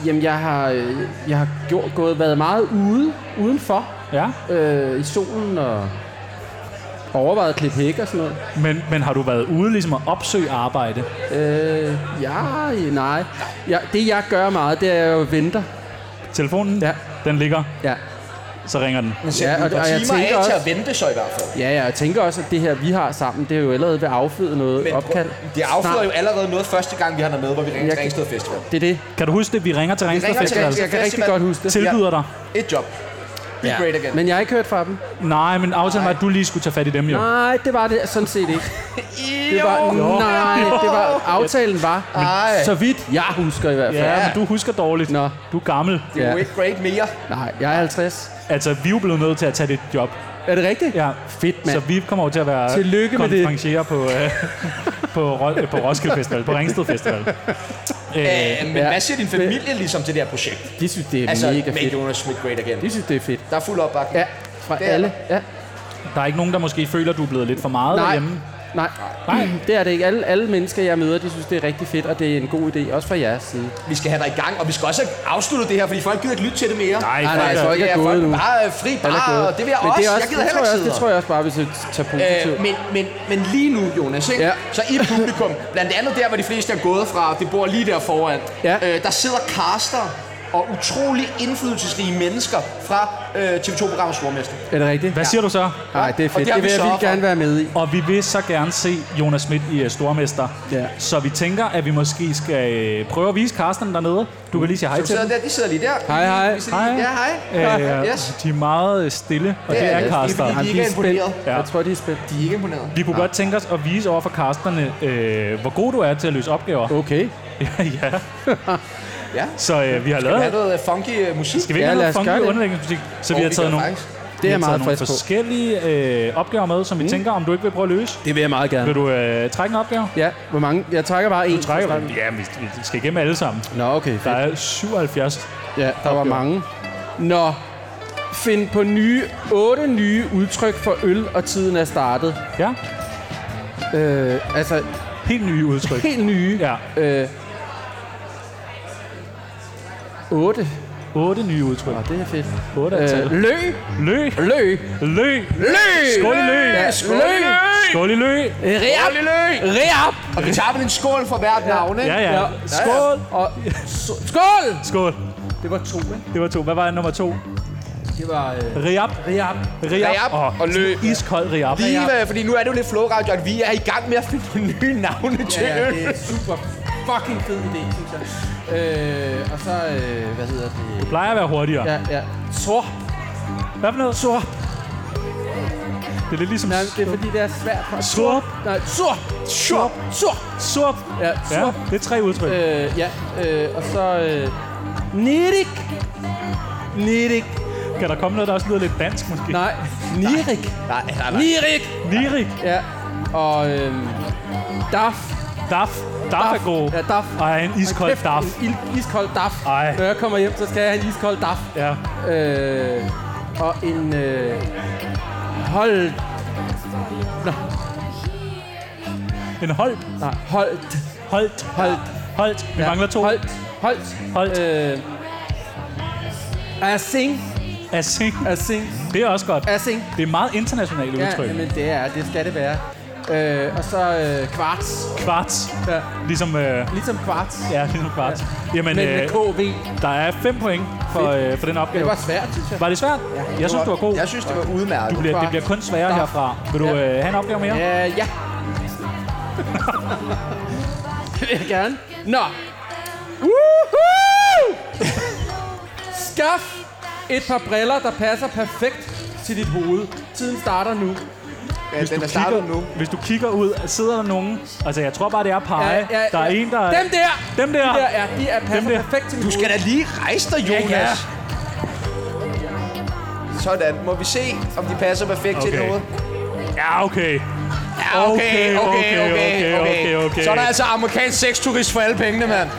Speaker 3: jamen, jeg har, øh, jeg har gjort, gået, været meget ude, udenfor
Speaker 1: Ja,
Speaker 3: øh, i solen og overvejet at klippe hæk og sådan noget.
Speaker 1: men, men har du været ude ligesom at opsøge arbejde?
Speaker 3: Øh, ja, nej. Ja, det, jeg gør meget, det er, at jeg jo venter.
Speaker 1: Telefonen,
Speaker 3: Ja.
Speaker 1: den ligger,
Speaker 3: Ja.
Speaker 1: så ringer den.
Speaker 2: men sæt ja,
Speaker 3: og-
Speaker 2: et par
Speaker 3: og jeg
Speaker 2: timer af
Speaker 3: tænker
Speaker 2: til
Speaker 3: også-
Speaker 2: at vente så i hvert fald.
Speaker 3: ja, ja, jeg tænker også, at det her, vi har sammen, det er jo allerede ved at afføde noget
Speaker 2: Men
Speaker 3: opkald.
Speaker 2: det afføder
Speaker 3: Snart.
Speaker 2: jo allerede noget første gang, vi har dig med, hvor vi ringer til
Speaker 3: Jeg-
Speaker 2: Ringsted Festival.
Speaker 3: Det er det.
Speaker 1: Kan du huske det? Vi ringer til Ringsted
Speaker 2: ringer til
Speaker 1: Festival.
Speaker 2: Ringsted
Speaker 3: Jeg kan rigtig
Speaker 2: Festival.
Speaker 3: godt huske det.
Speaker 1: Tilbyder dig.
Speaker 2: Et job. Be great again.
Speaker 3: Men jeg har ikke hørt fra dem.
Speaker 1: Nej, men aftalen var, at du lige skulle tage fat i dem jo.
Speaker 3: Nej, det var det sådan set ikke. Det var, nej, det var, aftalen var,
Speaker 2: Ej.
Speaker 3: så vidt jeg husker i hvert fald.
Speaker 1: Ja, men du husker dårligt.
Speaker 3: Nå.
Speaker 1: Du er gammel.
Speaker 2: Du
Speaker 3: Ja.
Speaker 2: er ikke great mere.
Speaker 3: Nej, jeg er 50.
Speaker 1: Altså, vi er jo blevet nødt til at tage dit job.
Speaker 3: Er det rigtigt?
Speaker 1: Ja.
Speaker 3: Fedt, mand.
Speaker 1: Så vi kommer over til at være
Speaker 3: Tillykke med det.
Speaker 1: konferencier på, øh, på, Ro- øh, på Roskilde Festival, på Ringsted Festival.
Speaker 2: Øh, men
Speaker 3: Ja.
Speaker 2: hvad siger din familie ligesom til det her projekt?
Speaker 3: De synes, det er
Speaker 2: Altså,
Speaker 3: mega
Speaker 2: make
Speaker 3: fedt.
Speaker 2: Jonas Smith great again.
Speaker 3: De synes, det er fedt.
Speaker 2: Der er fuld opbakning.
Speaker 3: Ja, fra
Speaker 2: Det er
Speaker 3: alle. Ja.
Speaker 1: Der er ikke nogen, der måske føler, du er blevet lidt for meget
Speaker 3: Nej.
Speaker 1: derhjemme.
Speaker 3: Nej. Nej, det er det ikke. Alle, alle mennesker, jeg møder, de synes, det er rigtig fedt, og det er en god idé, også fra jeres side.
Speaker 2: Vi skal have dig i gang, og vi skal også afslutte det her, fordi folk gider ikke lytte til det mere.
Speaker 1: Nej,
Speaker 3: nej,
Speaker 1: altså,
Speaker 3: folk
Speaker 2: det
Speaker 3: er
Speaker 2: er
Speaker 3: gået
Speaker 2: folk
Speaker 3: nu.
Speaker 2: bare øh, fri
Speaker 3: Alle er
Speaker 2: bar,
Speaker 3: gode.
Speaker 2: og det vil jeg
Speaker 3: Men
Speaker 2: også.
Speaker 3: det er
Speaker 2: Jeg gider
Speaker 3: det tror
Speaker 2: heller ikke
Speaker 3: jeg, også,
Speaker 2: sidde
Speaker 3: det tror jeg også bare, vi skal tage positivt.
Speaker 2: Øh, men, men, men lige nu, Jonas, ikke?
Speaker 3: Ja.
Speaker 2: så i publikum, blandt andet der, hvor de fleste er gået fra, det bor lige der foran,
Speaker 3: Ja.
Speaker 2: øh, der sidder caster og utrolig indflydelsesrige mennesker fra øh, TV2-programmet Stormester.
Speaker 3: er det rigtigt?
Speaker 1: hvad siger du så?
Speaker 3: Nej, det er
Speaker 2: Og
Speaker 3: fedt.
Speaker 2: det
Speaker 3: Det
Speaker 2: har
Speaker 3: vil
Speaker 2: vi
Speaker 3: jeg
Speaker 2: sørget
Speaker 3: vildt
Speaker 2: for.
Speaker 3: gerne være med i.
Speaker 1: Og vi vil så gerne se Jonas Schmidt i øh, Stormester.
Speaker 3: Ja.
Speaker 1: Så vi tænker, at vi måske skal øh, prøve at vise Carsten dernede. Du kan lige sige hej
Speaker 2: De
Speaker 1: til
Speaker 2: sidder
Speaker 1: dem.
Speaker 2: der, de sidder lige der.
Speaker 3: Hej, hej.
Speaker 2: Vi sidder lige-
Speaker 1: Hej.
Speaker 2: Ja, hej.
Speaker 1: Øh,
Speaker 2: yes.
Speaker 1: De er meget øh, stille, og
Speaker 2: Det
Speaker 1: det
Speaker 2: er
Speaker 1: er
Speaker 2: det. Det er
Speaker 1: Carsten.
Speaker 2: fordi,
Speaker 3: Jamen,
Speaker 2: ikke
Speaker 3: er spændt.
Speaker 2: imponeret.
Speaker 1: Ja.
Speaker 3: Jeg tror, de er spændt.
Speaker 2: De er ikke imponeret.
Speaker 1: Vi kunne godt tænke os at vise over for kasterne, øh, hvor god du er til at løse opgaver.
Speaker 3: Okay.
Speaker 1: ja.
Speaker 2: Ja.
Speaker 1: Så øh, vi har
Speaker 2: Der er
Speaker 1: lavet...
Speaker 2: noget øh, funky øh, musik.
Speaker 1: Skal vi ikke
Speaker 3: Ja,
Speaker 1: have
Speaker 3: lad
Speaker 1: noget
Speaker 3: os gøre
Speaker 1: funky
Speaker 3: det.
Speaker 1: underlægningsmusik? Så vi har taget nogle,
Speaker 3: Det er jeg
Speaker 1: vi har
Speaker 3: meget
Speaker 1: taget nogle
Speaker 3: frisk på.
Speaker 1: forskellige øh, opgaver med, som vi tænker, om du ikke vil prøve at løse.
Speaker 3: Det vil jeg meget gerne.
Speaker 1: Vil du øh, trække en opgave?
Speaker 3: Ja, hvor mange? Jeg trækker bare en.
Speaker 1: Trækker vi? Ja, vi, vi skal igennem alle sammen.
Speaker 3: Nå, okay.
Speaker 1: Der
Speaker 3: Fedt.
Speaker 1: er 77.
Speaker 3: Ja, der var mange. Nå, find på nye, otte nye udtryk for øl, og tiden er startet.
Speaker 1: Ja,
Speaker 3: Øh, altså,
Speaker 1: helt nye udtryk.
Speaker 3: helt nye.
Speaker 1: Ja,
Speaker 3: Øh, otte.
Speaker 1: otte nye udtryk.
Speaker 3: Nå, det er fedt.
Speaker 1: Otte er
Speaker 3: Øh,
Speaker 1: tallet.
Speaker 3: lø,
Speaker 1: Lø,
Speaker 3: lø,
Speaker 1: lø,
Speaker 3: lø!
Speaker 1: skål i lø,
Speaker 3: Ja, lø!
Speaker 1: skål i lø.
Speaker 3: Reap! Reap!
Speaker 2: Og vi tager vel en skål for hvert navn, ikke?
Speaker 1: Ja, ja.
Speaker 3: Skål! Og, s- skål!
Speaker 1: Skål.
Speaker 3: Det var to, ikke?
Speaker 1: Det var to. Hvad var nummer to?
Speaker 3: Det var... Øh,
Speaker 1: Riab.
Speaker 3: Reap.
Speaker 1: Riab.
Speaker 2: Riab og løb.
Speaker 1: Iskold Riab.
Speaker 2: Lige, øh, fordi nu er det jo lidt flow radio, at vi er i gang med at finde på nye navne til
Speaker 3: Ja,
Speaker 2: øl.
Speaker 3: det er en super fucking fed idé, synes jeg. Øh, og så, øh, hvad hedder det?
Speaker 1: Plejer at være hurtigere.
Speaker 3: Ja, ja. Sor.
Speaker 1: Hvad for noget?
Speaker 3: Sor.
Speaker 1: Det er lidt ligesom...
Speaker 3: Nej, det er fordi, det er svært for...
Speaker 1: Sor.
Speaker 3: Nej, sor. Sor. Sor.
Speaker 1: Surp.
Speaker 3: Ja,
Speaker 1: Ja,
Speaker 3: sor.
Speaker 1: det er tre udtryk.
Speaker 3: Øh, ja, øh, og så... Øh, Nirik. Nirik.
Speaker 1: Kan der komme noget, der også lyder lidt dansk, måske?
Speaker 3: Nej, Nirik.
Speaker 2: Nej, nej, nej.
Speaker 3: Nirik.
Speaker 1: Lirik.
Speaker 3: Ja, og øh, Daf.
Speaker 1: Daf. Daf er god.
Speaker 3: Ja, Daf.
Speaker 1: Ej, en iskold
Speaker 3: Kæft,
Speaker 1: daf.
Speaker 3: En ild, iskold daf.
Speaker 1: Ej.
Speaker 3: Når jeg kommer hjem, så skal jeg have en iskold daf.
Speaker 1: Ja.
Speaker 3: Øh, og en... Øh, hold...
Speaker 1: En holdt.
Speaker 3: Nej, holdt.
Speaker 1: Holdt.
Speaker 3: Holdt.
Speaker 1: Holdt. Vi mangler to.
Speaker 3: Holdt. Holdt.
Speaker 1: Holdt.
Speaker 3: Øh, asing.
Speaker 1: Assing.
Speaker 3: Asing.
Speaker 1: Det er også godt.
Speaker 3: Asing.
Speaker 1: Det er meget internationale udtryk.
Speaker 3: Ja, men det er, det skal det være. Øh, og så øh, kvarts.
Speaker 1: Kvarts.
Speaker 3: Ja,
Speaker 1: Ligesom... Øh,
Speaker 3: ligesom kvarts.
Speaker 1: ja, ligesom kvarts. Jamen,
Speaker 3: Men
Speaker 1: øh,
Speaker 3: med KV.
Speaker 1: der er fem point for,
Speaker 3: Fedt.
Speaker 1: øh, for den opgave.
Speaker 3: Det var svært, synes jeg.
Speaker 1: Var det svært? Jeg synes, du var god.
Speaker 2: Jeg synes, det var udmærket.
Speaker 1: Det bliver, det
Speaker 3: Kvarts.
Speaker 1: bliver kun sværere
Speaker 3: Daf.
Speaker 1: herfra. Vil du øh, have en opgave mere?
Speaker 3: Øh, ja. det vil jeg gerne. Nå. Woohoo! Skaf et par briller, der passer perfekt til dit hoved. Tiden starter nu.
Speaker 2: Ja,
Speaker 1: Hvis
Speaker 2: den
Speaker 1: du,
Speaker 2: er startet nu.
Speaker 1: kigger, hvis du kigger ud, sidder der nogen... Altså, jeg tror bare, det er pege.
Speaker 3: Ja, ja,
Speaker 1: der er
Speaker 3: ja.
Speaker 1: en, der...
Speaker 3: Dem der!
Speaker 1: Dem der!
Speaker 3: De der, ja, de er passer
Speaker 1: Dem der.
Speaker 3: perfekt til mit
Speaker 2: Du skal
Speaker 3: hoved.
Speaker 2: da lige rejse dig, Jonas.
Speaker 1: ja.
Speaker 2: Sådan. Må vi se, om de passer perfekt til
Speaker 1: Okay.
Speaker 2: noget?
Speaker 1: Ja, okay.
Speaker 2: Ja,
Speaker 1: Okay, okay, okay, okay, okay.
Speaker 2: Så er der altså amerikansk sexturist for alle pengene, mand.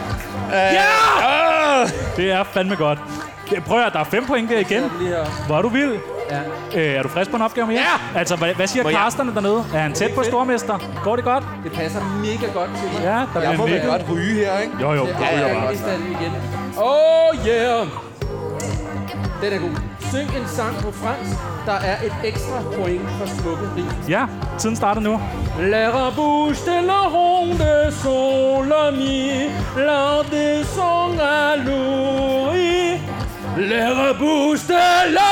Speaker 1: Ja! Ah! Det er fandme godt. Det- Prøv at høre, der er fem point der igen.
Speaker 3: Lige her.
Speaker 1: Hvor er du vild?
Speaker 3: Ja.
Speaker 1: Øh, er du frisk på en opgave mere?
Speaker 2: Ja!
Speaker 1: Altså, hvad, hvad siger
Speaker 2: jeg-
Speaker 1: Carsterne dernede? Er han tæt på stormester? Går det godt?
Speaker 3: Det passer mega godt til mig.
Speaker 1: Ja, der
Speaker 2: Jeg
Speaker 1: bliver
Speaker 2: må vel
Speaker 1: nikket.
Speaker 2: godt ryge her, ikke?
Speaker 1: Jo, jo.
Speaker 3: Ja,
Speaker 2: ja,
Speaker 3: ja,
Speaker 2: ja.
Speaker 3: ja. igen. Oh yeah! Den er god. Syng en sang på fransk. Der er et ekstra point for smukke rim.
Speaker 1: Ja, tiden starter nu.
Speaker 3: La rabouche de la ronde sont l'ami, l'art des sons à l'ouri. La rabouche de la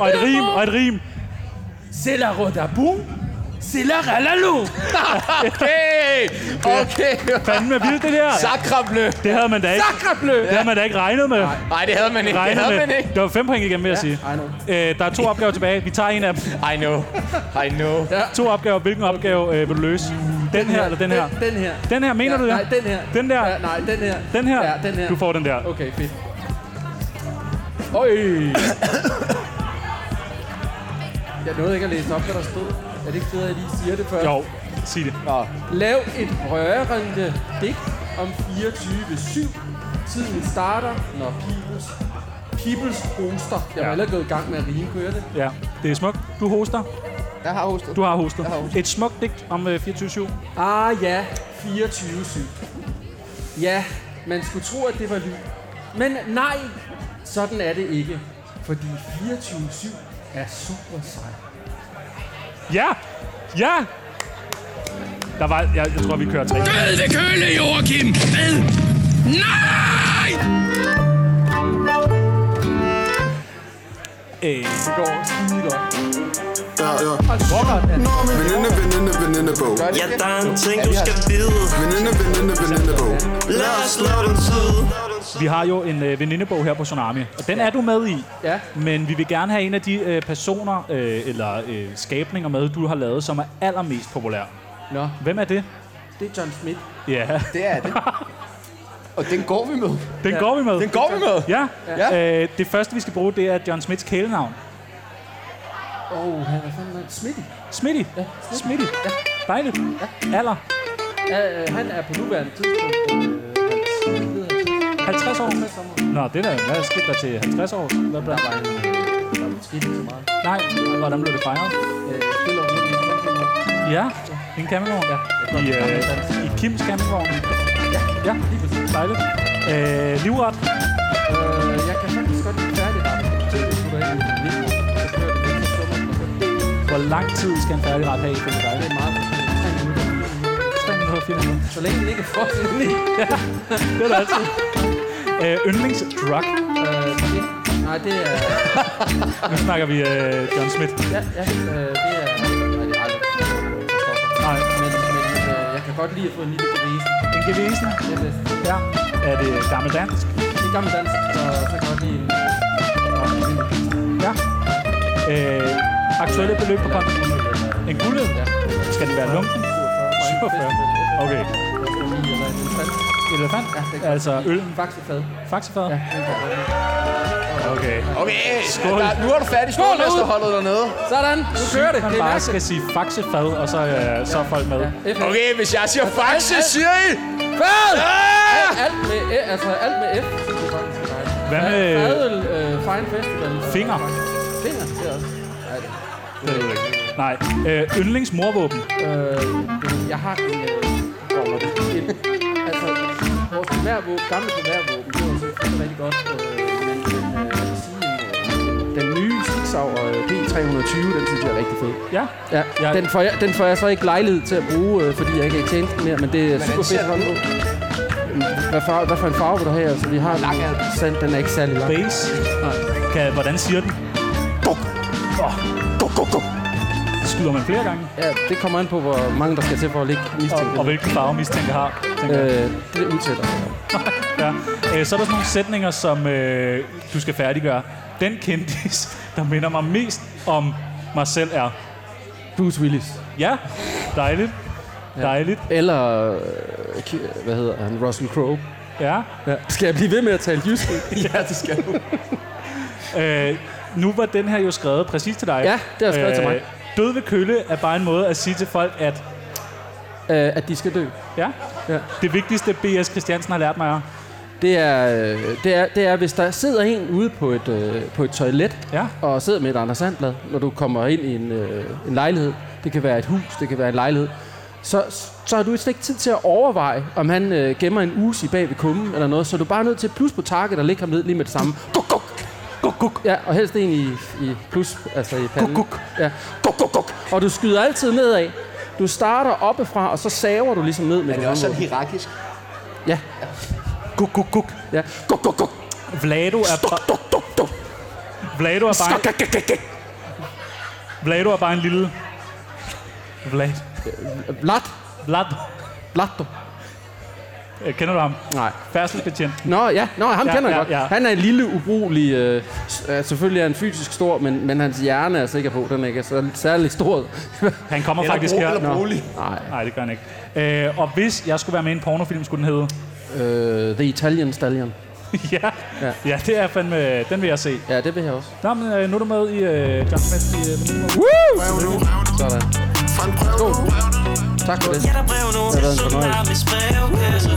Speaker 1: Og et
Speaker 3: raconte,
Speaker 1: rim, og et rim.
Speaker 3: c'est la rodabou, Silla Rallalo! okay! Okay!
Speaker 1: Fanden med vildt, det der.
Speaker 3: Sakrablø!
Speaker 1: Det havde man da ikke,
Speaker 3: Sakrablø!
Speaker 1: det havde man da ikke regnet med.
Speaker 3: Nej, det havde man ikke. Det
Speaker 1: Regnet
Speaker 3: havde man
Speaker 1: med.
Speaker 3: ikke.
Speaker 1: Det var fem point igen, vil jeg sige.
Speaker 3: I know.
Speaker 1: Øh, der er to opgaver tilbage. Vi tager en af dem.
Speaker 3: I know. I know. Ja.
Speaker 1: To opgaver. Hvilken opgave øh, vil du løse? Den her eller den her?
Speaker 3: Den, den her.
Speaker 1: Den her, mener
Speaker 3: ja,
Speaker 1: du det?
Speaker 3: Nej, den her.
Speaker 1: Den der?
Speaker 3: Ja, nej, den her.
Speaker 1: Den her?
Speaker 3: Ja, den her.
Speaker 1: Du får den der.
Speaker 3: Okay, fedt. Øj! jeg nåede ikke at læse op, hvad der stod. Er det ikke fedt, at jeg lige siger det før?
Speaker 1: Jo, sig det.
Speaker 3: Nå. Lav et rørende digt om 24-7. Tiden starter, når Peoples, Peoples hoster. Jeg
Speaker 1: Ja.
Speaker 3: var allerede gået i gang med at rime, kunne jeg det?
Speaker 1: Ja, det er smukt. Du hoster.
Speaker 2: Jeg har hostet.
Speaker 1: Du har hostet.
Speaker 2: har hostet.
Speaker 1: Et smukt digt om øh, 24-7.
Speaker 3: Ah ja, 24-7. Ja, man skulle tro, at det var lyd. Men nej, sådan er det ikke. Fordi 24-7 er super sej.
Speaker 1: Ja! Ja! Der var, jeg, jeg tror, vi kører tre.
Speaker 7: Død ved køle, Joachim! Hvad? Nej!
Speaker 1: Øh,
Speaker 3: Det går skide godt.
Speaker 8: Ja, ja.
Speaker 3: Rockert
Speaker 8: Veninde, veninde, venindebog.
Speaker 5: Ja, der er en ting, du skal vide
Speaker 8: Veninde, veninde, venindebog.
Speaker 5: Lad os lave den tid
Speaker 1: vi har jo en øh, venindebog her på Tsunami, og den er du med i.
Speaker 3: Ja.
Speaker 1: Men vi vil gerne have en af de øh, personer øh, eller øh, skabninger med, du har lavet, som er allermest populær.
Speaker 3: Nå,
Speaker 1: Hvem er det?
Speaker 3: det er John Smith.
Speaker 1: Ja,
Speaker 2: Det er det. Og den går vi med.
Speaker 1: den går vi med.
Speaker 2: Den går vi med.
Speaker 1: Ja.
Speaker 2: Ja.
Speaker 1: Øh, det første, vi skal bruge, det er John Smiths kælenavn.
Speaker 3: Åh, oh, hvad fanden er det? Smitty?
Speaker 1: Smitty. Ja. Smitty. Ja. Dejligt. Ja. Alder.
Speaker 3: Ja, øh, han er på nuværende tidspunkt. Øh, hans- hvad hedder han?
Speaker 1: 50 år.
Speaker 3: 50 år.
Speaker 1: Nå, det der. Hvad skete der til 50 år? Hvad blev
Speaker 3: Der var han der var måske ikke så meget.
Speaker 1: Nej, hvordan blev det fejret?
Speaker 3: Øh, stille og roligt.
Speaker 1: Ja, en campingvogn. Ja. I, øh, I Kims campingvogn. Ja, lige præcis. Dejligt. Øh, livret.
Speaker 3: Øh, jeg kan faktisk godt lide færdigret. Det er sgu da ikke en vild måde. Så kører det lidt, så summer den, og så-
Speaker 1: Hvor lang tid skal en færdig ret have ifølge dig?
Speaker 3: Det er meget forskelligt.
Speaker 1: 3
Speaker 3: Tre minutter.
Speaker 1: minutter, 4 minutter.
Speaker 3: Så længe den ikke er Øh, frossen i.
Speaker 1: Det er det altid. Øh, yndlingsdrug.
Speaker 3: Øh, det, nej, det er...
Speaker 1: Nu snakker vi øh, John Smith.
Speaker 3: Ja, ja, øh, det er... Nej, det er aldrig.
Speaker 1: Nej,
Speaker 3: Men, men øh, jeg kan godt lide at få en lille bevise.
Speaker 1: en gevesen.
Speaker 3: Det er bedst.
Speaker 1: Ja. Er det gammel dansk?
Speaker 3: Det er gammel dans, så, så kan jeg godt lide en... og en lille bevise.
Speaker 1: Ja. Øh, aktuelle beløb på konten. En guldhed?
Speaker 3: Ja.
Speaker 1: Skal det være lunken? 47. Okay. Elefant?
Speaker 3: Ja,
Speaker 1: Altså øl.
Speaker 3: Faktisk fad.
Speaker 1: Faxefad?
Speaker 3: Ja, den kan jeg godt lide.
Speaker 1: Okay.
Speaker 2: Okay,
Speaker 1: Skål.
Speaker 2: Der, nu er du færdig skolmesterholdet dernede.
Speaker 3: Sådan, nu kører det.
Speaker 1: Man
Speaker 3: Det er
Speaker 1: bare
Speaker 3: mærkeligt.
Speaker 1: skal sige faxefad, og så, øh, så er folk med.
Speaker 3: Ja, F-
Speaker 2: Okay, hvis jeg siger faxe, siger I...
Speaker 3: Fad!
Speaker 2: Ah!
Speaker 3: Alt med, Æ, altså alt med F, synes jeg faktisk er dejligt.
Speaker 1: Hvad med-
Speaker 3: Fadøl, øh, Fine Festival. øh,
Speaker 1: Finger?
Speaker 3: Finger, det er også.
Speaker 1: Det ved jeg ikke. Nej. Øh, yndlingsmorvåben.
Speaker 3: Øh, jeg har en... Øh, en altså, vores primærvåben, gamle primærvåben, det var selvfølgelig rigtig godt. Øh, men, men øh, jeg vil sige, øh, den nye øh, Stigsauer B320, den synes jeg er rigtig fed.
Speaker 1: Ja.
Speaker 3: Ja,
Speaker 1: Jeg-
Speaker 3: Den, får jeg, den får jeg så ikke lejlighed til at bruge, øh, fordi jeg ikke er i tjenesten mere, men det er super fedt at holde på. Hvad for, hvad for en farve vil du have? Altså, vi har den, sand, den er ikke særlig lang.
Speaker 1: Base. Kan, hvordan siger den? Duk. Åh. Duk, duk, duk. Skyder man flere gange?
Speaker 3: Ja, det kommer an på, hvor mange der skal til for at ligge
Speaker 1: Og,
Speaker 3: mistænkt.
Speaker 1: og hvilken farve mistænker har? tænker jeg.
Speaker 3: Øh, det udsætter.
Speaker 1: Ja. Øh, så er der sådan nogle sætninger, som øh, du skal færdiggøre. Den kendis, der minder mig mest om mig selv er...
Speaker 3: Bruce Willis.
Speaker 1: Ja, dejligt. Dejligt.
Speaker 3: Eller, øh, ki- hvad hedder han, Russell Crowe.
Speaker 1: Ja.
Speaker 3: Ja. Skal jeg blive ved med at tale jysk?
Speaker 2: Ja, det skal du.
Speaker 1: Øh, nu var den her jo skrevet præcis til dig. Øh,
Speaker 3: Ja, det er skrevet til mig.
Speaker 1: Død ved kølle er bare en måde at sige til folk, at
Speaker 3: øh, at de skal dø.
Speaker 1: ja, ja.
Speaker 3: Ja.
Speaker 1: det vigtigste, B.S. Christiansen har lært mig er...
Speaker 3: Det er, øh, det, er, det er, hvis der sidder en ude på et, øh, på et toilet,
Speaker 1: Ja.
Speaker 3: og sidder med et Anders Sandblad, når du kommer ind i en, øh, en lejlighed. Det kan være et hus, det kan være en lejlighed. Så, så har du slet ikke tid til at overveje, om han øh, gemmer en usi bag ved kummen eller noget. Så er du bare nødt til plus på target og lægge ham ned lige med det samme. Guk, guk. Guk, guk. Ja, og helst en i, i plus, altså i panden. Guk, guk. Ja. Guk, guk, guk. Og du skyder altid nedad. Du starter oppefra, og så saver du ligesom ned med
Speaker 2: Det
Speaker 3: det
Speaker 2: er også sådan hierarkisk.
Speaker 3: Ja,
Speaker 1: Guk, guk, guk.
Speaker 3: ja.
Speaker 2: Go, go, go.
Speaker 1: Vlado er bare...
Speaker 2: Duk, duk, duk.
Speaker 1: Vlado er bare...
Speaker 2: Gak, gak, gak, gak, gak.
Speaker 1: Vlado er bare en lille... Vlad.
Speaker 3: Vlad?
Speaker 1: Vlad.
Speaker 3: Vlad, du.
Speaker 1: Øh, Kender du ham?
Speaker 3: Nej.
Speaker 1: Færdselsbetjent.
Speaker 3: Nå, ja. Nå, ham
Speaker 1: Ja,
Speaker 3: ja, kender jeg
Speaker 1: ja,
Speaker 3: godt.
Speaker 1: ja.
Speaker 3: Ja. Han er en lille, ubrugelig... Øh, s- øh, selvfølgelig er han fysisk stor, men, men hans hjerne er jeg sikker på, den ikke er så, særlig stor.
Speaker 1: Han kommer
Speaker 2: Eller
Speaker 1: faktisk
Speaker 2: bro-
Speaker 1: her.
Speaker 2: eller
Speaker 1: Nå.
Speaker 2: bolig.
Speaker 3: Nej.
Speaker 1: Nej, det gør han ikke. Øh, og hvis jeg skulle være med i en pornofilm, skulle den hedde?
Speaker 3: Øh, The Italian Stallion.
Speaker 1: ja. ja.
Speaker 3: Ja.
Speaker 1: Ja, det er fandme... Den vil jeg se.
Speaker 3: Ja, det vil jeg også.
Speaker 1: Nå, men øh, nu er du med i øh, John Smith i øh, Menino.
Speaker 3: Sådan.
Speaker 8: Fra en prøve nu.
Speaker 3: Tak for det.
Speaker 5: Ja, der er brev nu.
Speaker 3: Det har været en
Speaker 5: Tsunamis brevkasse.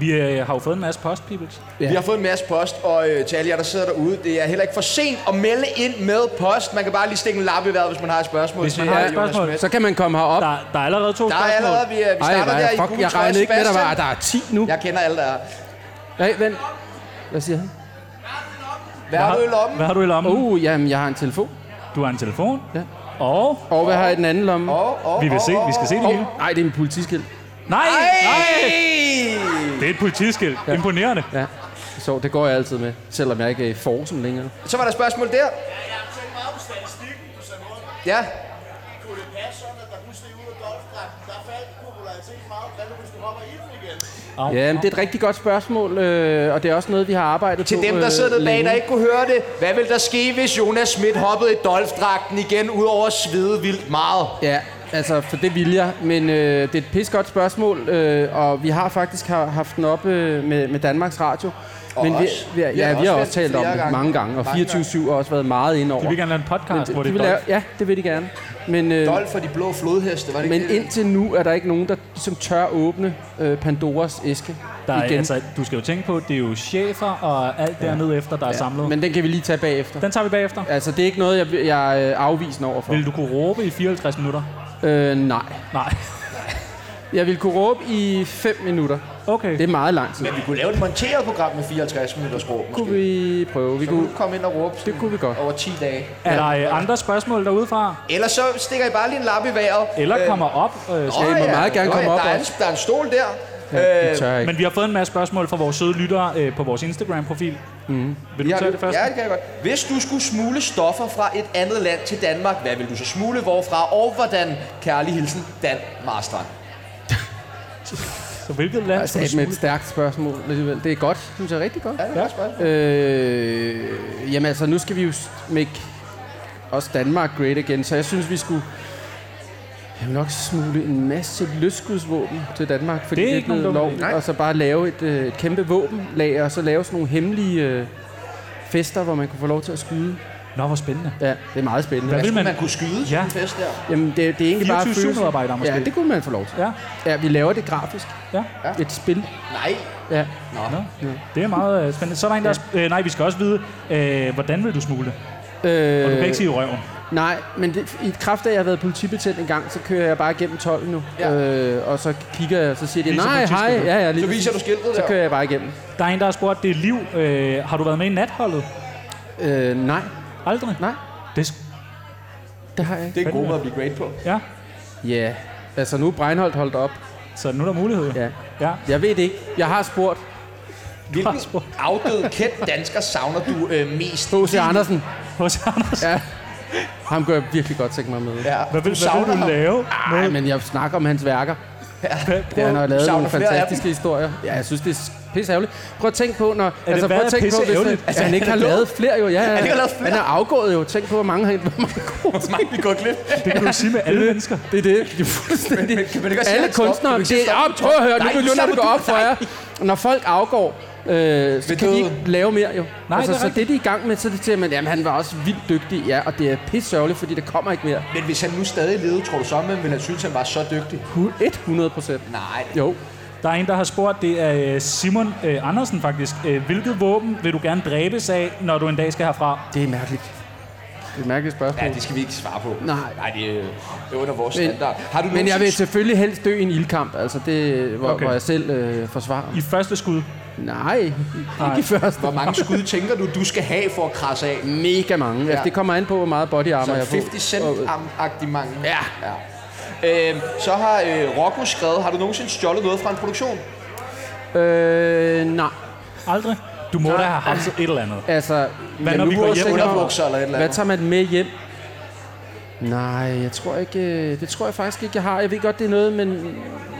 Speaker 1: Vi øh, har jo fået en masse post, peoples.
Speaker 2: Vi har fået en masse post, og øh, til alle jer, der sidder derude, det er heller ikke for sent at melde ind med post. Man kan bare lige stikke en lap i vejret, hvis man har et spørgsmål.
Speaker 1: Hvis man
Speaker 2: til,
Speaker 1: har
Speaker 2: øh,
Speaker 1: et
Speaker 2: Jonas
Speaker 1: spørgsmål,
Speaker 2: Schmidt.
Speaker 3: Så kan man komme herop.
Speaker 1: Der, der er allerede to
Speaker 2: Der er
Speaker 1: spørgsmål.
Speaker 2: allerede, vi, øh, vi starter
Speaker 3: nej,
Speaker 2: der i
Speaker 3: fuck,
Speaker 2: gule
Speaker 3: jeg
Speaker 2: trøje,
Speaker 3: regnede ikke med, der var,
Speaker 2: Sebastian.
Speaker 3: der er 10 nu.
Speaker 2: Jeg kender alle, der er.
Speaker 3: Nej, vent. Hvad siger han?
Speaker 2: Hvad har du i lommen?
Speaker 1: Hvad har du i lommen? Uh.
Speaker 3: Uh, jamen, jeg har en telefon.
Speaker 1: Du har en telefon.
Speaker 3: Ja.
Speaker 1: Og
Speaker 3: Og hvad har jeg i den anden lomme?
Speaker 2: Åh, åh,
Speaker 1: vi vil
Speaker 2: åh,
Speaker 1: se, vi skal se det hele.
Speaker 3: Nej, det er en politiskilt.
Speaker 1: Nej! Nej!
Speaker 2: Ej!
Speaker 1: Det er et politiskilt. Ja. Imponerende.
Speaker 3: Ja, så det går jeg altid med, selvom jeg ikke er i forsen længere.
Speaker 2: Så var der spørgsmål der. Ja,
Speaker 1: Au,
Speaker 3: Ja, men det er et rigtig godt spørgsmål, øh, og det er også noget, vi har arbejdet
Speaker 2: til
Speaker 3: på
Speaker 2: dem, der
Speaker 3: øh,
Speaker 2: sidder bag,
Speaker 3: længe.
Speaker 2: der ikke kunne høre det. Hvad ville der ske, hvis Jonas Schmidt hoppede i Dolph-dragten igen, udover at svede vildt meget?
Speaker 3: Ja, altså, for det vil jeg, men øh, det er et pissegodt spørgsmål, øh, og vi har faktisk har, haft den op øh, med, med Danmarks Radio.
Speaker 2: Og
Speaker 3: men
Speaker 2: os.
Speaker 3: vi, ja, vi har også,
Speaker 2: vendt
Speaker 3: talt om
Speaker 2: flere
Speaker 3: det
Speaker 2: gange.
Speaker 3: mange gange, og
Speaker 2: Mange
Speaker 3: 24-7 har også været meget ind
Speaker 1: De
Speaker 3: over.
Speaker 1: vil gerne lave en podcast, hvor
Speaker 3: de
Speaker 1: det
Speaker 3: vil
Speaker 1: er
Speaker 3: lave,
Speaker 1: Dolph.
Speaker 3: ja, det vil de gerne. Men, øh,
Speaker 2: Dolph for de blå flodheste, var det
Speaker 3: men
Speaker 2: ikke det?
Speaker 3: indtil nu er der ikke nogen, der ligesom tør åbne øh, Pandoras æske
Speaker 1: Der er,
Speaker 3: igen.
Speaker 1: altså, du skal jo tænke på, det er jo chefer og alt dernede efter, der er samlet.
Speaker 3: Men den kan vi lige tage bagefter.
Speaker 1: Den tager vi bagefter.
Speaker 3: Altså, det er ikke noget, jeg, jeg er øh, afvisende overfor.
Speaker 1: Vil du kunne råbe i 54 minutter?
Speaker 3: Øh, nej.
Speaker 1: Nej.
Speaker 3: Jeg vil kunne råbe i 5 minutter.
Speaker 1: Okay.
Speaker 3: Det er meget lang tid.
Speaker 2: Men vi kunne lave et monteret program med 54 minutters råb,
Speaker 3: Det kunne
Speaker 2: måske.
Speaker 3: vi prøve. Vi
Speaker 2: Så kunne
Speaker 3: kunne,
Speaker 2: du komme ind og råbe
Speaker 3: det kunne vi godt.
Speaker 2: over 10 dage.
Speaker 1: Er der øh, andre spørgsmål derudefra?
Speaker 2: Ellers så stikker I bare lige en lap i vejret.
Speaker 1: Eller kommer op? Øh,
Speaker 2: Nå
Speaker 3: Ja, I må meget gerne
Speaker 2: Nå
Speaker 3: komme op
Speaker 2: Der er, en,
Speaker 3: også.
Speaker 2: der er en stol der.
Speaker 3: Ja, det tør jeg ikke.
Speaker 1: men vi har fået en masse spørgsmål fra vores søde lyttere øh, på vores Instagram-profil. Mm. Vil du
Speaker 2: Ja,
Speaker 1: tage det først?
Speaker 2: ja, det kan jeg godt. Hvis du skulle smule stoffer fra et andet land til Danmark, hvad vil du så smule hvorfra, og hvordan? Kærlig hilsen, Dan Marstrand.
Speaker 1: Så hvilket land
Speaker 3: Altså,
Speaker 1: skal du
Speaker 3: det er et
Speaker 1: smule?
Speaker 3: stærkt spørgsmål alligevel. Det er godt, synes jeg er rigtig godt.
Speaker 2: Ja, det er et godt spørgsmål.
Speaker 3: Øh, jamen altså, nu skal vi jo s- make også Danmark great igen, så jeg synes, vi skulle jeg vil nok smule en masse løskudsvåben til Danmark, fordi
Speaker 1: Det
Speaker 3: det
Speaker 1: er
Speaker 3: er, det er
Speaker 1: ikke
Speaker 3: blevet
Speaker 1: nogen dum idé.
Speaker 3: lovligt, og så bare lave et, øh, et kæmpe våbenlager, og så lave sådan nogle hemmelige øh, fester, hvor man kunne få lov til at skyde.
Speaker 1: Nå, hvor spændende.
Speaker 3: Ja, det er meget spændende.
Speaker 1: Hvad vil man?
Speaker 2: Man kunne skyde
Speaker 1: Ja.
Speaker 2: ja. en fest der.
Speaker 3: Jamen, det, det er egentlig
Speaker 1: 24-7
Speaker 3: bare følelsen.
Speaker 1: medarbejdere måske.
Speaker 3: Ja, det kunne man få lov til.
Speaker 1: Ja,
Speaker 3: Ja, vi laver det grafisk.
Speaker 1: ja.
Speaker 3: Et spil.
Speaker 2: Nej,
Speaker 3: Ja.
Speaker 1: Nå. Det er meget øh, spændende. Så er der en, der... sp- Øh, nej, vi skal også vide, øh, hvordan vil du smule?
Speaker 3: Øh,
Speaker 1: Og du kan ikke sige i røven.
Speaker 3: Nej, men det, i kraft af, at jeg har været politibetjent en gang, så kører jeg bare igennem 12 nu.
Speaker 2: Ja.
Speaker 3: Ja. Øh, og så kigger jeg, så siger de,
Speaker 1: Lige som
Speaker 3: nej, hej.
Speaker 1: politiskiltet.
Speaker 3: Ja, ja, lige
Speaker 2: så viser du
Speaker 3: præcis.
Speaker 2: skiltet
Speaker 3: Så
Speaker 2: der.
Speaker 3: kører jeg bare igennem.
Speaker 1: Der er en, der har spurgt, det er liv. Øh, har du været med i natholdet?
Speaker 3: Øh, nej,
Speaker 1: Aldrig?
Speaker 3: nej,
Speaker 1: Det, er sk-
Speaker 3: det har jeg ikke.
Speaker 2: Det er en god måde at blive great på.
Speaker 1: ja,
Speaker 3: Ja, altså nu er Breinholt holdt op.
Speaker 1: så nu er der mulighed. jo.
Speaker 3: Ja.
Speaker 1: ja.
Speaker 3: Jeg ved det ikke. Jeg har spurgt
Speaker 2: Hvilken
Speaker 1: spurgt.
Speaker 2: afdød kendt dansker savner du øh, mest?
Speaker 3: H.C. Andersen.
Speaker 1: Hos Anders.
Speaker 3: Ja. Ham kunne jeg virkelig godt tænke mig med.
Speaker 2: Ja.
Speaker 1: Hvad vil,
Speaker 2: du
Speaker 1: hvad
Speaker 2: savner
Speaker 1: vil du
Speaker 2: ham.
Speaker 1: lave?
Speaker 3: Nej, men jeg snakker om hans værker.
Speaker 1: Hvad,
Speaker 3: Det han har lavet
Speaker 2: savner
Speaker 3: nogle
Speaker 2: flere af dem.
Speaker 3: fantastiske historier. Ja, jeg synes, det er pisse ærgerligt. Prøv at tænke på, når... Er det,
Speaker 1: hvad
Speaker 3: prøv
Speaker 1: er
Speaker 3: at tænke på,
Speaker 1: pisseærgerligt?
Speaker 3: hvis altså, han ikke har lavet flere, jo. Ja, ja,
Speaker 2: ikke har lavet flere?
Speaker 3: Han er afgået, jo. Tænk på, hvor mange han... Hvor mange gode.
Speaker 2: Nej, vi går glip.
Speaker 1: det kan du sige med alle mennesker.
Speaker 3: Det er det. Det er fuldstændig...
Speaker 2: Men- men kan man ikke også sige,
Speaker 3: Alle
Speaker 2: at stop? Kan
Speaker 3: kunstnere...
Speaker 2: man ikke sige,
Speaker 3: Det er
Speaker 2: stop?
Speaker 3: op, prøv at høre. Nu
Speaker 2: Nej, nu
Speaker 3: begynder det at
Speaker 2: stopper
Speaker 3: gå
Speaker 2: du.
Speaker 3: op for jer. Når folk afgår, øh, så kan
Speaker 2: Ved
Speaker 3: de
Speaker 2: døden.
Speaker 3: ikke lave mere, jo.
Speaker 1: Nej, det er
Speaker 3: altså, så
Speaker 1: rigtigt.
Speaker 3: det, de er i gang med, så er det til, at man, jamen, han var også vildt dygtig, ja, og det er pisse sørgeligt, fordi det kommer ikke mere.
Speaker 2: Men hvis han nu stadig levede, tror du så, man ville han synes, han var så dygtig?
Speaker 3: 100 procent.
Speaker 2: Nej.
Speaker 3: Jo.
Speaker 1: Der er en, der har spurgt, det er øh, Simon øh, Andersen faktisk. Øh, hvilket våben vil du gerne dræbes af, når du en dag skal herfra?
Speaker 3: Det er mærkeligt. Det er et mærkeligt spørgsmål.
Speaker 2: Ja, det skal vi ikke svare på.
Speaker 3: Nej.
Speaker 2: Nej, det er, det er under vores standard. Har du
Speaker 3: men jeg vil
Speaker 2: nogensinde-
Speaker 3: selvfølgelig helst dø i en ildkamp, altså det, hvor,
Speaker 1: Okay.
Speaker 3: okay. hvor jeg selv øh, forsvarer.
Speaker 1: I første skud.
Speaker 3: Nej,
Speaker 1: Nej.
Speaker 3: ikke i første.
Speaker 2: Hvor mange skud tænker du, du skal have for at krasse af?
Speaker 3: Mega mange. Ja. Altså, det kommer an på, hvor meget body armor
Speaker 2: Så
Speaker 3: jeg får.
Speaker 2: 50 cent
Speaker 3: Og, øh,
Speaker 2: agtig mange.
Speaker 3: Ja.
Speaker 2: ja. Øhm, så har øh, Rocco skrevet, har du nogensinde stjålet noget fra en produktion?
Speaker 3: Øh, nej.
Speaker 1: Aldrig. Du må da have hamset et eller andet.
Speaker 3: Altså,
Speaker 1: når vi går hjem
Speaker 3: tænker jeg,
Speaker 2: Underbukser eller et eller
Speaker 3: Hvad
Speaker 2: andet?
Speaker 3: tager man med hjem? Nej, jeg tror ikke... øh, Det tror jeg faktisk ikke, jeg har. Jeg ved godt, det er noget, men,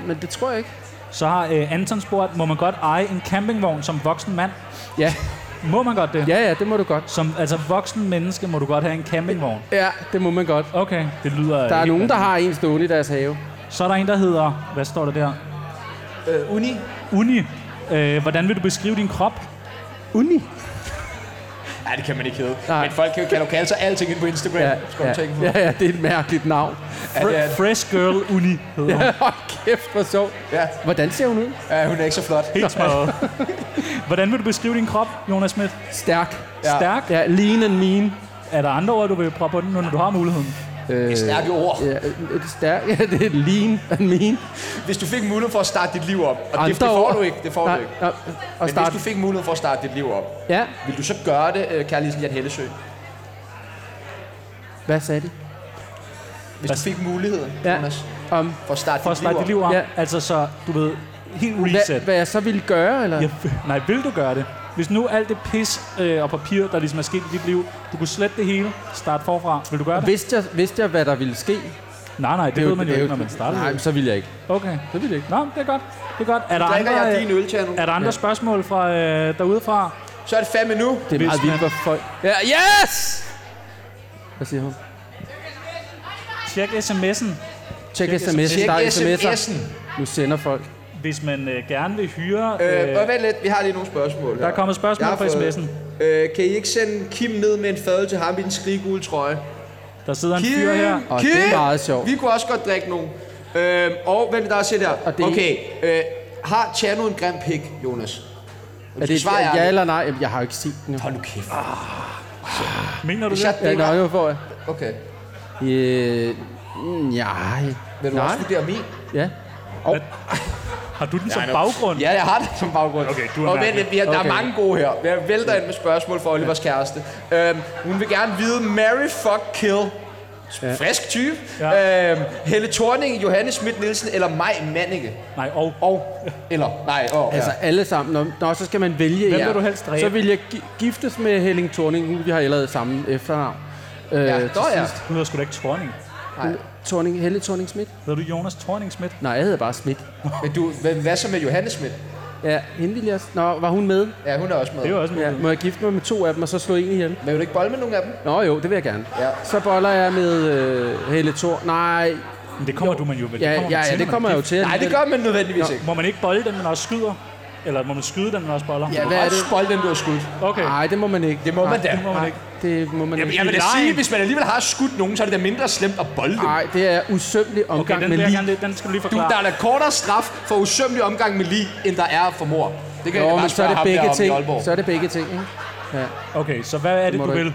Speaker 3: men det tror jeg ikke.
Speaker 1: Så har øh, Anton spurgt, må man godt eje en campingvogn som voksen mand?
Speaker 3: Ja,
Speaker 1: Må man godt det?
Speaker 3: ja, ja, det må du godt.
Speaker 1: Som altså voksen menneske må du godt have en campingvogn.
Speaker 3: Ja, det må man godt.
Speaker 1: Okay, det lyder...
Speaker 3: Der er
Speaker 1: helt
Speaker 3: nogen, der
Speaker 1: vanvittigt.
Speaker 3: har en stående i deres have.
Speaker 1: Så er der en, der hedder... Hvad står der der?
Speaker 2: Øh, uni.
Speaker 1: Uni. Øh, hvordan vil du beskrive din krop?
Speaker 3: Uni.
Speaker 2: Nej, det kan man ikke hedde.
Speaker 3: Nej.
Speaker 2: Men folk kan, kan jo kalde sig alting ind på Instagram.
Speaker 3: Ja,
Speaker 2: Skal du
Speaker 3: ja,
Speaker 2: tænke på.
Speaker 3: ja, ja, det er et mærkeligt navn.
Speaker 2: Ja, det er
Speaker 1: Fre-
Speaker 2: det.
Speaker 1: fresh girl uni hedder hun.
Speaker 3: Hold kæft, hvor sjovt.
Speaker 2: Ja.
Speaker 3: Hvordan ser hun ud?
Speaker 2: ja, hun er ikke så flot.
Speaker 1: Helt smadret. Hvordan vil du beskrive din krop, Jonas Schmidt?
Speaker 3: Stærk.
Speaker 1: Ja. Stærk?
Speaker 3: Ja, lean and mean.
Speaker 1: Er der andre ord, du vil proppe på den, nu, når du har muligheden?
Speaker 2: Det er stærke ord.
Speaker 3: Ja, øh, stærk. Ja, det er lean and mean.
Speaker 2: Hvis du fik mulighed for at starte dit liv op, og det, det
Speaker 3: Andre
Speaker 2: får
Speaker 3: ord.
Speaker 2: du ikke, det får du ikke.
Speaker 3: Nej, og
Speaker 2: Men hvis
Speaker 3: start.
Speaker 2: du fik mulighed for at starte dit liv op,
Speaker 3: Ja,
Speaker 2: vil du så gøre det, øh, kære Lisen Jan Hellesø?
Speaker 3: hvad sagde de?
Speaker 2: Hvis du fik muligheden,
Speaker 3: Ja.
Speaker 2: Jonas,
Speaker 3: Om,
Speaker 2: for at starte
Speaker 1: For at
Speaker 2: dit liv
Speaker 1: starte
Speaker 2: op.
Speaker 1: dit liv om?
Speaker 3: Ja.
Speaker 1: Altså så, du ved, helt
Speaker 3: hvad,
Speaker 1: reset.
Speaker 3: hvad jeg så ville gøre, eller?
Speaker 1: Ja, nej, vil du gøre det? Hvis nu alt det pis øh, og papir, der ligesom er sket i dit liv, du kunne slette det hele, starte forfra, vil du gøre det?
Speaker 3: Vidste jeg, vidste jeg, hvad der ville ske?
Speaker 1: nej, nej, det,
Speaker 3: er
Speaker 1: ved man jo
Speaker 3: det er
Speaker 1: ikke, når man starter.
Speaker 3: Nej, men så ville jeg ikke.
Speaker 1: Okay.
Speaker 3: Så ville jeg ikke.
Speaker 1: Nå, det er godt. Det er godt. Er der
Speaker 2: Drikker
Speaker 1: andre,
Speaker 2: jeg
Speaker 1: øh,
Speaker 2: din øl til nu?
Speaker 1: er der andre spørgsmål fra øh, derudefra?
Speaker 2: Så er det fandme nu.
Speaker 3: Det er meget
Speaker 1: Hvis
Speaker 3: vildt, hvor folk... Ja, yes! Hvad siger hun?
Speaker 1: Tjek sms'en.
Speaker 3: Tjek
Speaker 1: Tjek
Speaker 3: sms'en.
Speaker 2: Tjek
Speaker 3: Der er sms'er.
Speaker 2: sms'en.
Speaker 3: Nu sender folk.
Speaker 1: Hvis man øh, gerne vil hyre...
Speaker 2: Øh, og
Speaker 1: Øh,
Speaker 2: vent lidt, vi har lige nogle spørgsmål her.
Speaker 1: der er kommet spørgsmål
Speaker 2: Jeg har
Speaker 1: på
Speaker 2: fået-
Speaker 1: sms'en.
Speaker 2: Øh, kan I ikke sende Kim ned med en fadøl til ham i en skriggul trøje?
Speaker 1: Der sidder en
Speaker 2: Kim!
Speaker 1: fyr her.
Speaker 3: Og det er meget sjovt.
Speaker 2: Vi kunne også godt drikke nogen. Øh, og vent, der er set her.
Speaker 3: Og det-
Speaker 2: Okay, øh, har Tjerno en grim pik, Jonas?
Speaker 3: Er det et
Speaker 2: Svar ærligt.
Speaker 3: ja eller nej? Jamen, jeg har jo ikke set den. jo.
Speaker 2: Hold nu kæft.
Speaker 1: Mener du
Speaker 2: Hvis jeg
Speaker 1: det?
Speaker 3: Ja,
Speaker 2: dækker...
Speaker 3: nå, nu får jeg.
Speaker 2: Okay.
Speaker 3: Øh, mm, nej.
Speaker 2: Vil du
Speaker 3: nej.
Speaker 2: også vurdere min?
Speaker 3: Ja.
Speaker 1: Har du den som baggrund?
Speaker 2: Ja, jeg har det som baggrund.
Speaker 1: Okay, du er
Speaker 2: og vent,
Speaker 1: mærkelig.
Speaker 2: lidt, vi har, der
Speaker 3: Okay.
Speaker 2: er mange gode her. Jeg vælter ind med spørgsmål for Olivers kæreste. Øhm, hun vil gerne vide, Mary fuck kill. Frisk type.
Speaker 1: Ja.
Speaker 2: Øhm, Helle Thorning, Johanne Schmidt Nielsen eller Maj Manninge.
Speaker 1: Nej, og...
Speaker 2: Og, eller, nej, og.
Speaker 3: Altså
Speaker 2: Altså,
Speaker 3: alle sammen. Nå, nå, så skal man vælge.
Speaker 1: Hvem
Speaker 3: ja.
Speaker 1: vil du helst dræbe?
Speaker 3: Så vil jeg gi- giftes med Helling Thorning. Nu vi har allerede samme efternavn. Øh,
Speaker 2: ja.
Speaker 3: til
Speaker 2: Nå, ja.
Speaker 3: sidst.
Speaker 1: Du hedder sgu da ikke Torning.
Speaker 3: Thorning, Helle Thorning Schmidt?
Speaker 1: Hedder du Jonas Torning Schmidt?
Speaker 3: Nej, jeg hedder bare Schmidt.
Speaker 2: Men du, hvad, hvad så med Johanne Schmidt?
Speaker 3: Ja, hende ville jeg... Nå, var hun med?
Speaker 2: Ja, hun er også med.
Speaker 1: Det er jo også en
Speaker 3: Ja,
Speaker 1: mulighed.
Speaker 3: må jeg gifte mig med to af dem, og så slå en ihjel?
Speaker 2: Men vil du ikke bolle med nogen af dem?
Speaker 3: Nå jo, det vil jeg gerne.
Speaker 2: Ja.
Speaker 3: Så boller jeg med øh, Helle Thor. Nej,
Speaker 1: Men det kommer du man jo vel.
Speaker 3: ja,
Speaker 1: man
Speaker 3: ja,
Speaker 1: til, når
Speaker 3: ja, det
Speaker 1: man
Speaker 3: kommer
Speaker 1: er
Speaker 3: jeg jo
Speaker 1: gift.
Speaker 3: til.
Speaker 2: Nej, det gør man nødvendigvis ikke.
Speaker 1: Må man ikke bolde den, men også skyder? Eller må man skyde den, men også boller?
Speaker 2: Ja,
Speaker 3: hvad er
Speaker 2: Også
Speaker 3: det?
Speaker 2: bolle den, du har skudt.
Speaker 1: Okay.
Speaker 3: Nej, det må man ikke.
Speaker 2: Det må man da.
Speaker 1: Det må man ikke.
Speaker 3: Det må man
Speaker 2: Jamen,
Speaker 3: ikke.
Speaker 2: jeg vil da
Speaker 1: Nej.
Speaker 2: sige, hvis man alligevel har skudt nogen, så er det da mindre slemt at bolde dem.
Speaker 3: Nej, det er usømmelig
Speaker 1: Okay,
Speaker 3: omgang
Speaker 1: den,
Speaker 3: med
Speaker 1: vil jeg
Speaker 3: liv.
Speaker 1: gerne, lidt- den skal du lige
Speaker 2: Du,
Speaker 1: forklare.
Speaker 2: der er da kortere straf for usømmelig omgang med lige, end der er for mor. Det kan jeg
Speaker 3: Nå,
Speaker 2: bare
Speaker 3: men så er
Speaker 2: spørge
Speaker 3: det
Speaker 2: ham der
Speaker 3: begge
Speaker 2: om i
Speaker 3: ting.
Speaker 2: Aalborg.
Speaker 3: Så er det begge ting, ikke?
Speaker 1: Okay, så hvad er det,
Speaker 3: må
Speaker 1: du
Speaker 3: du
Speaker 1: vil?
Speaker 3: ikke.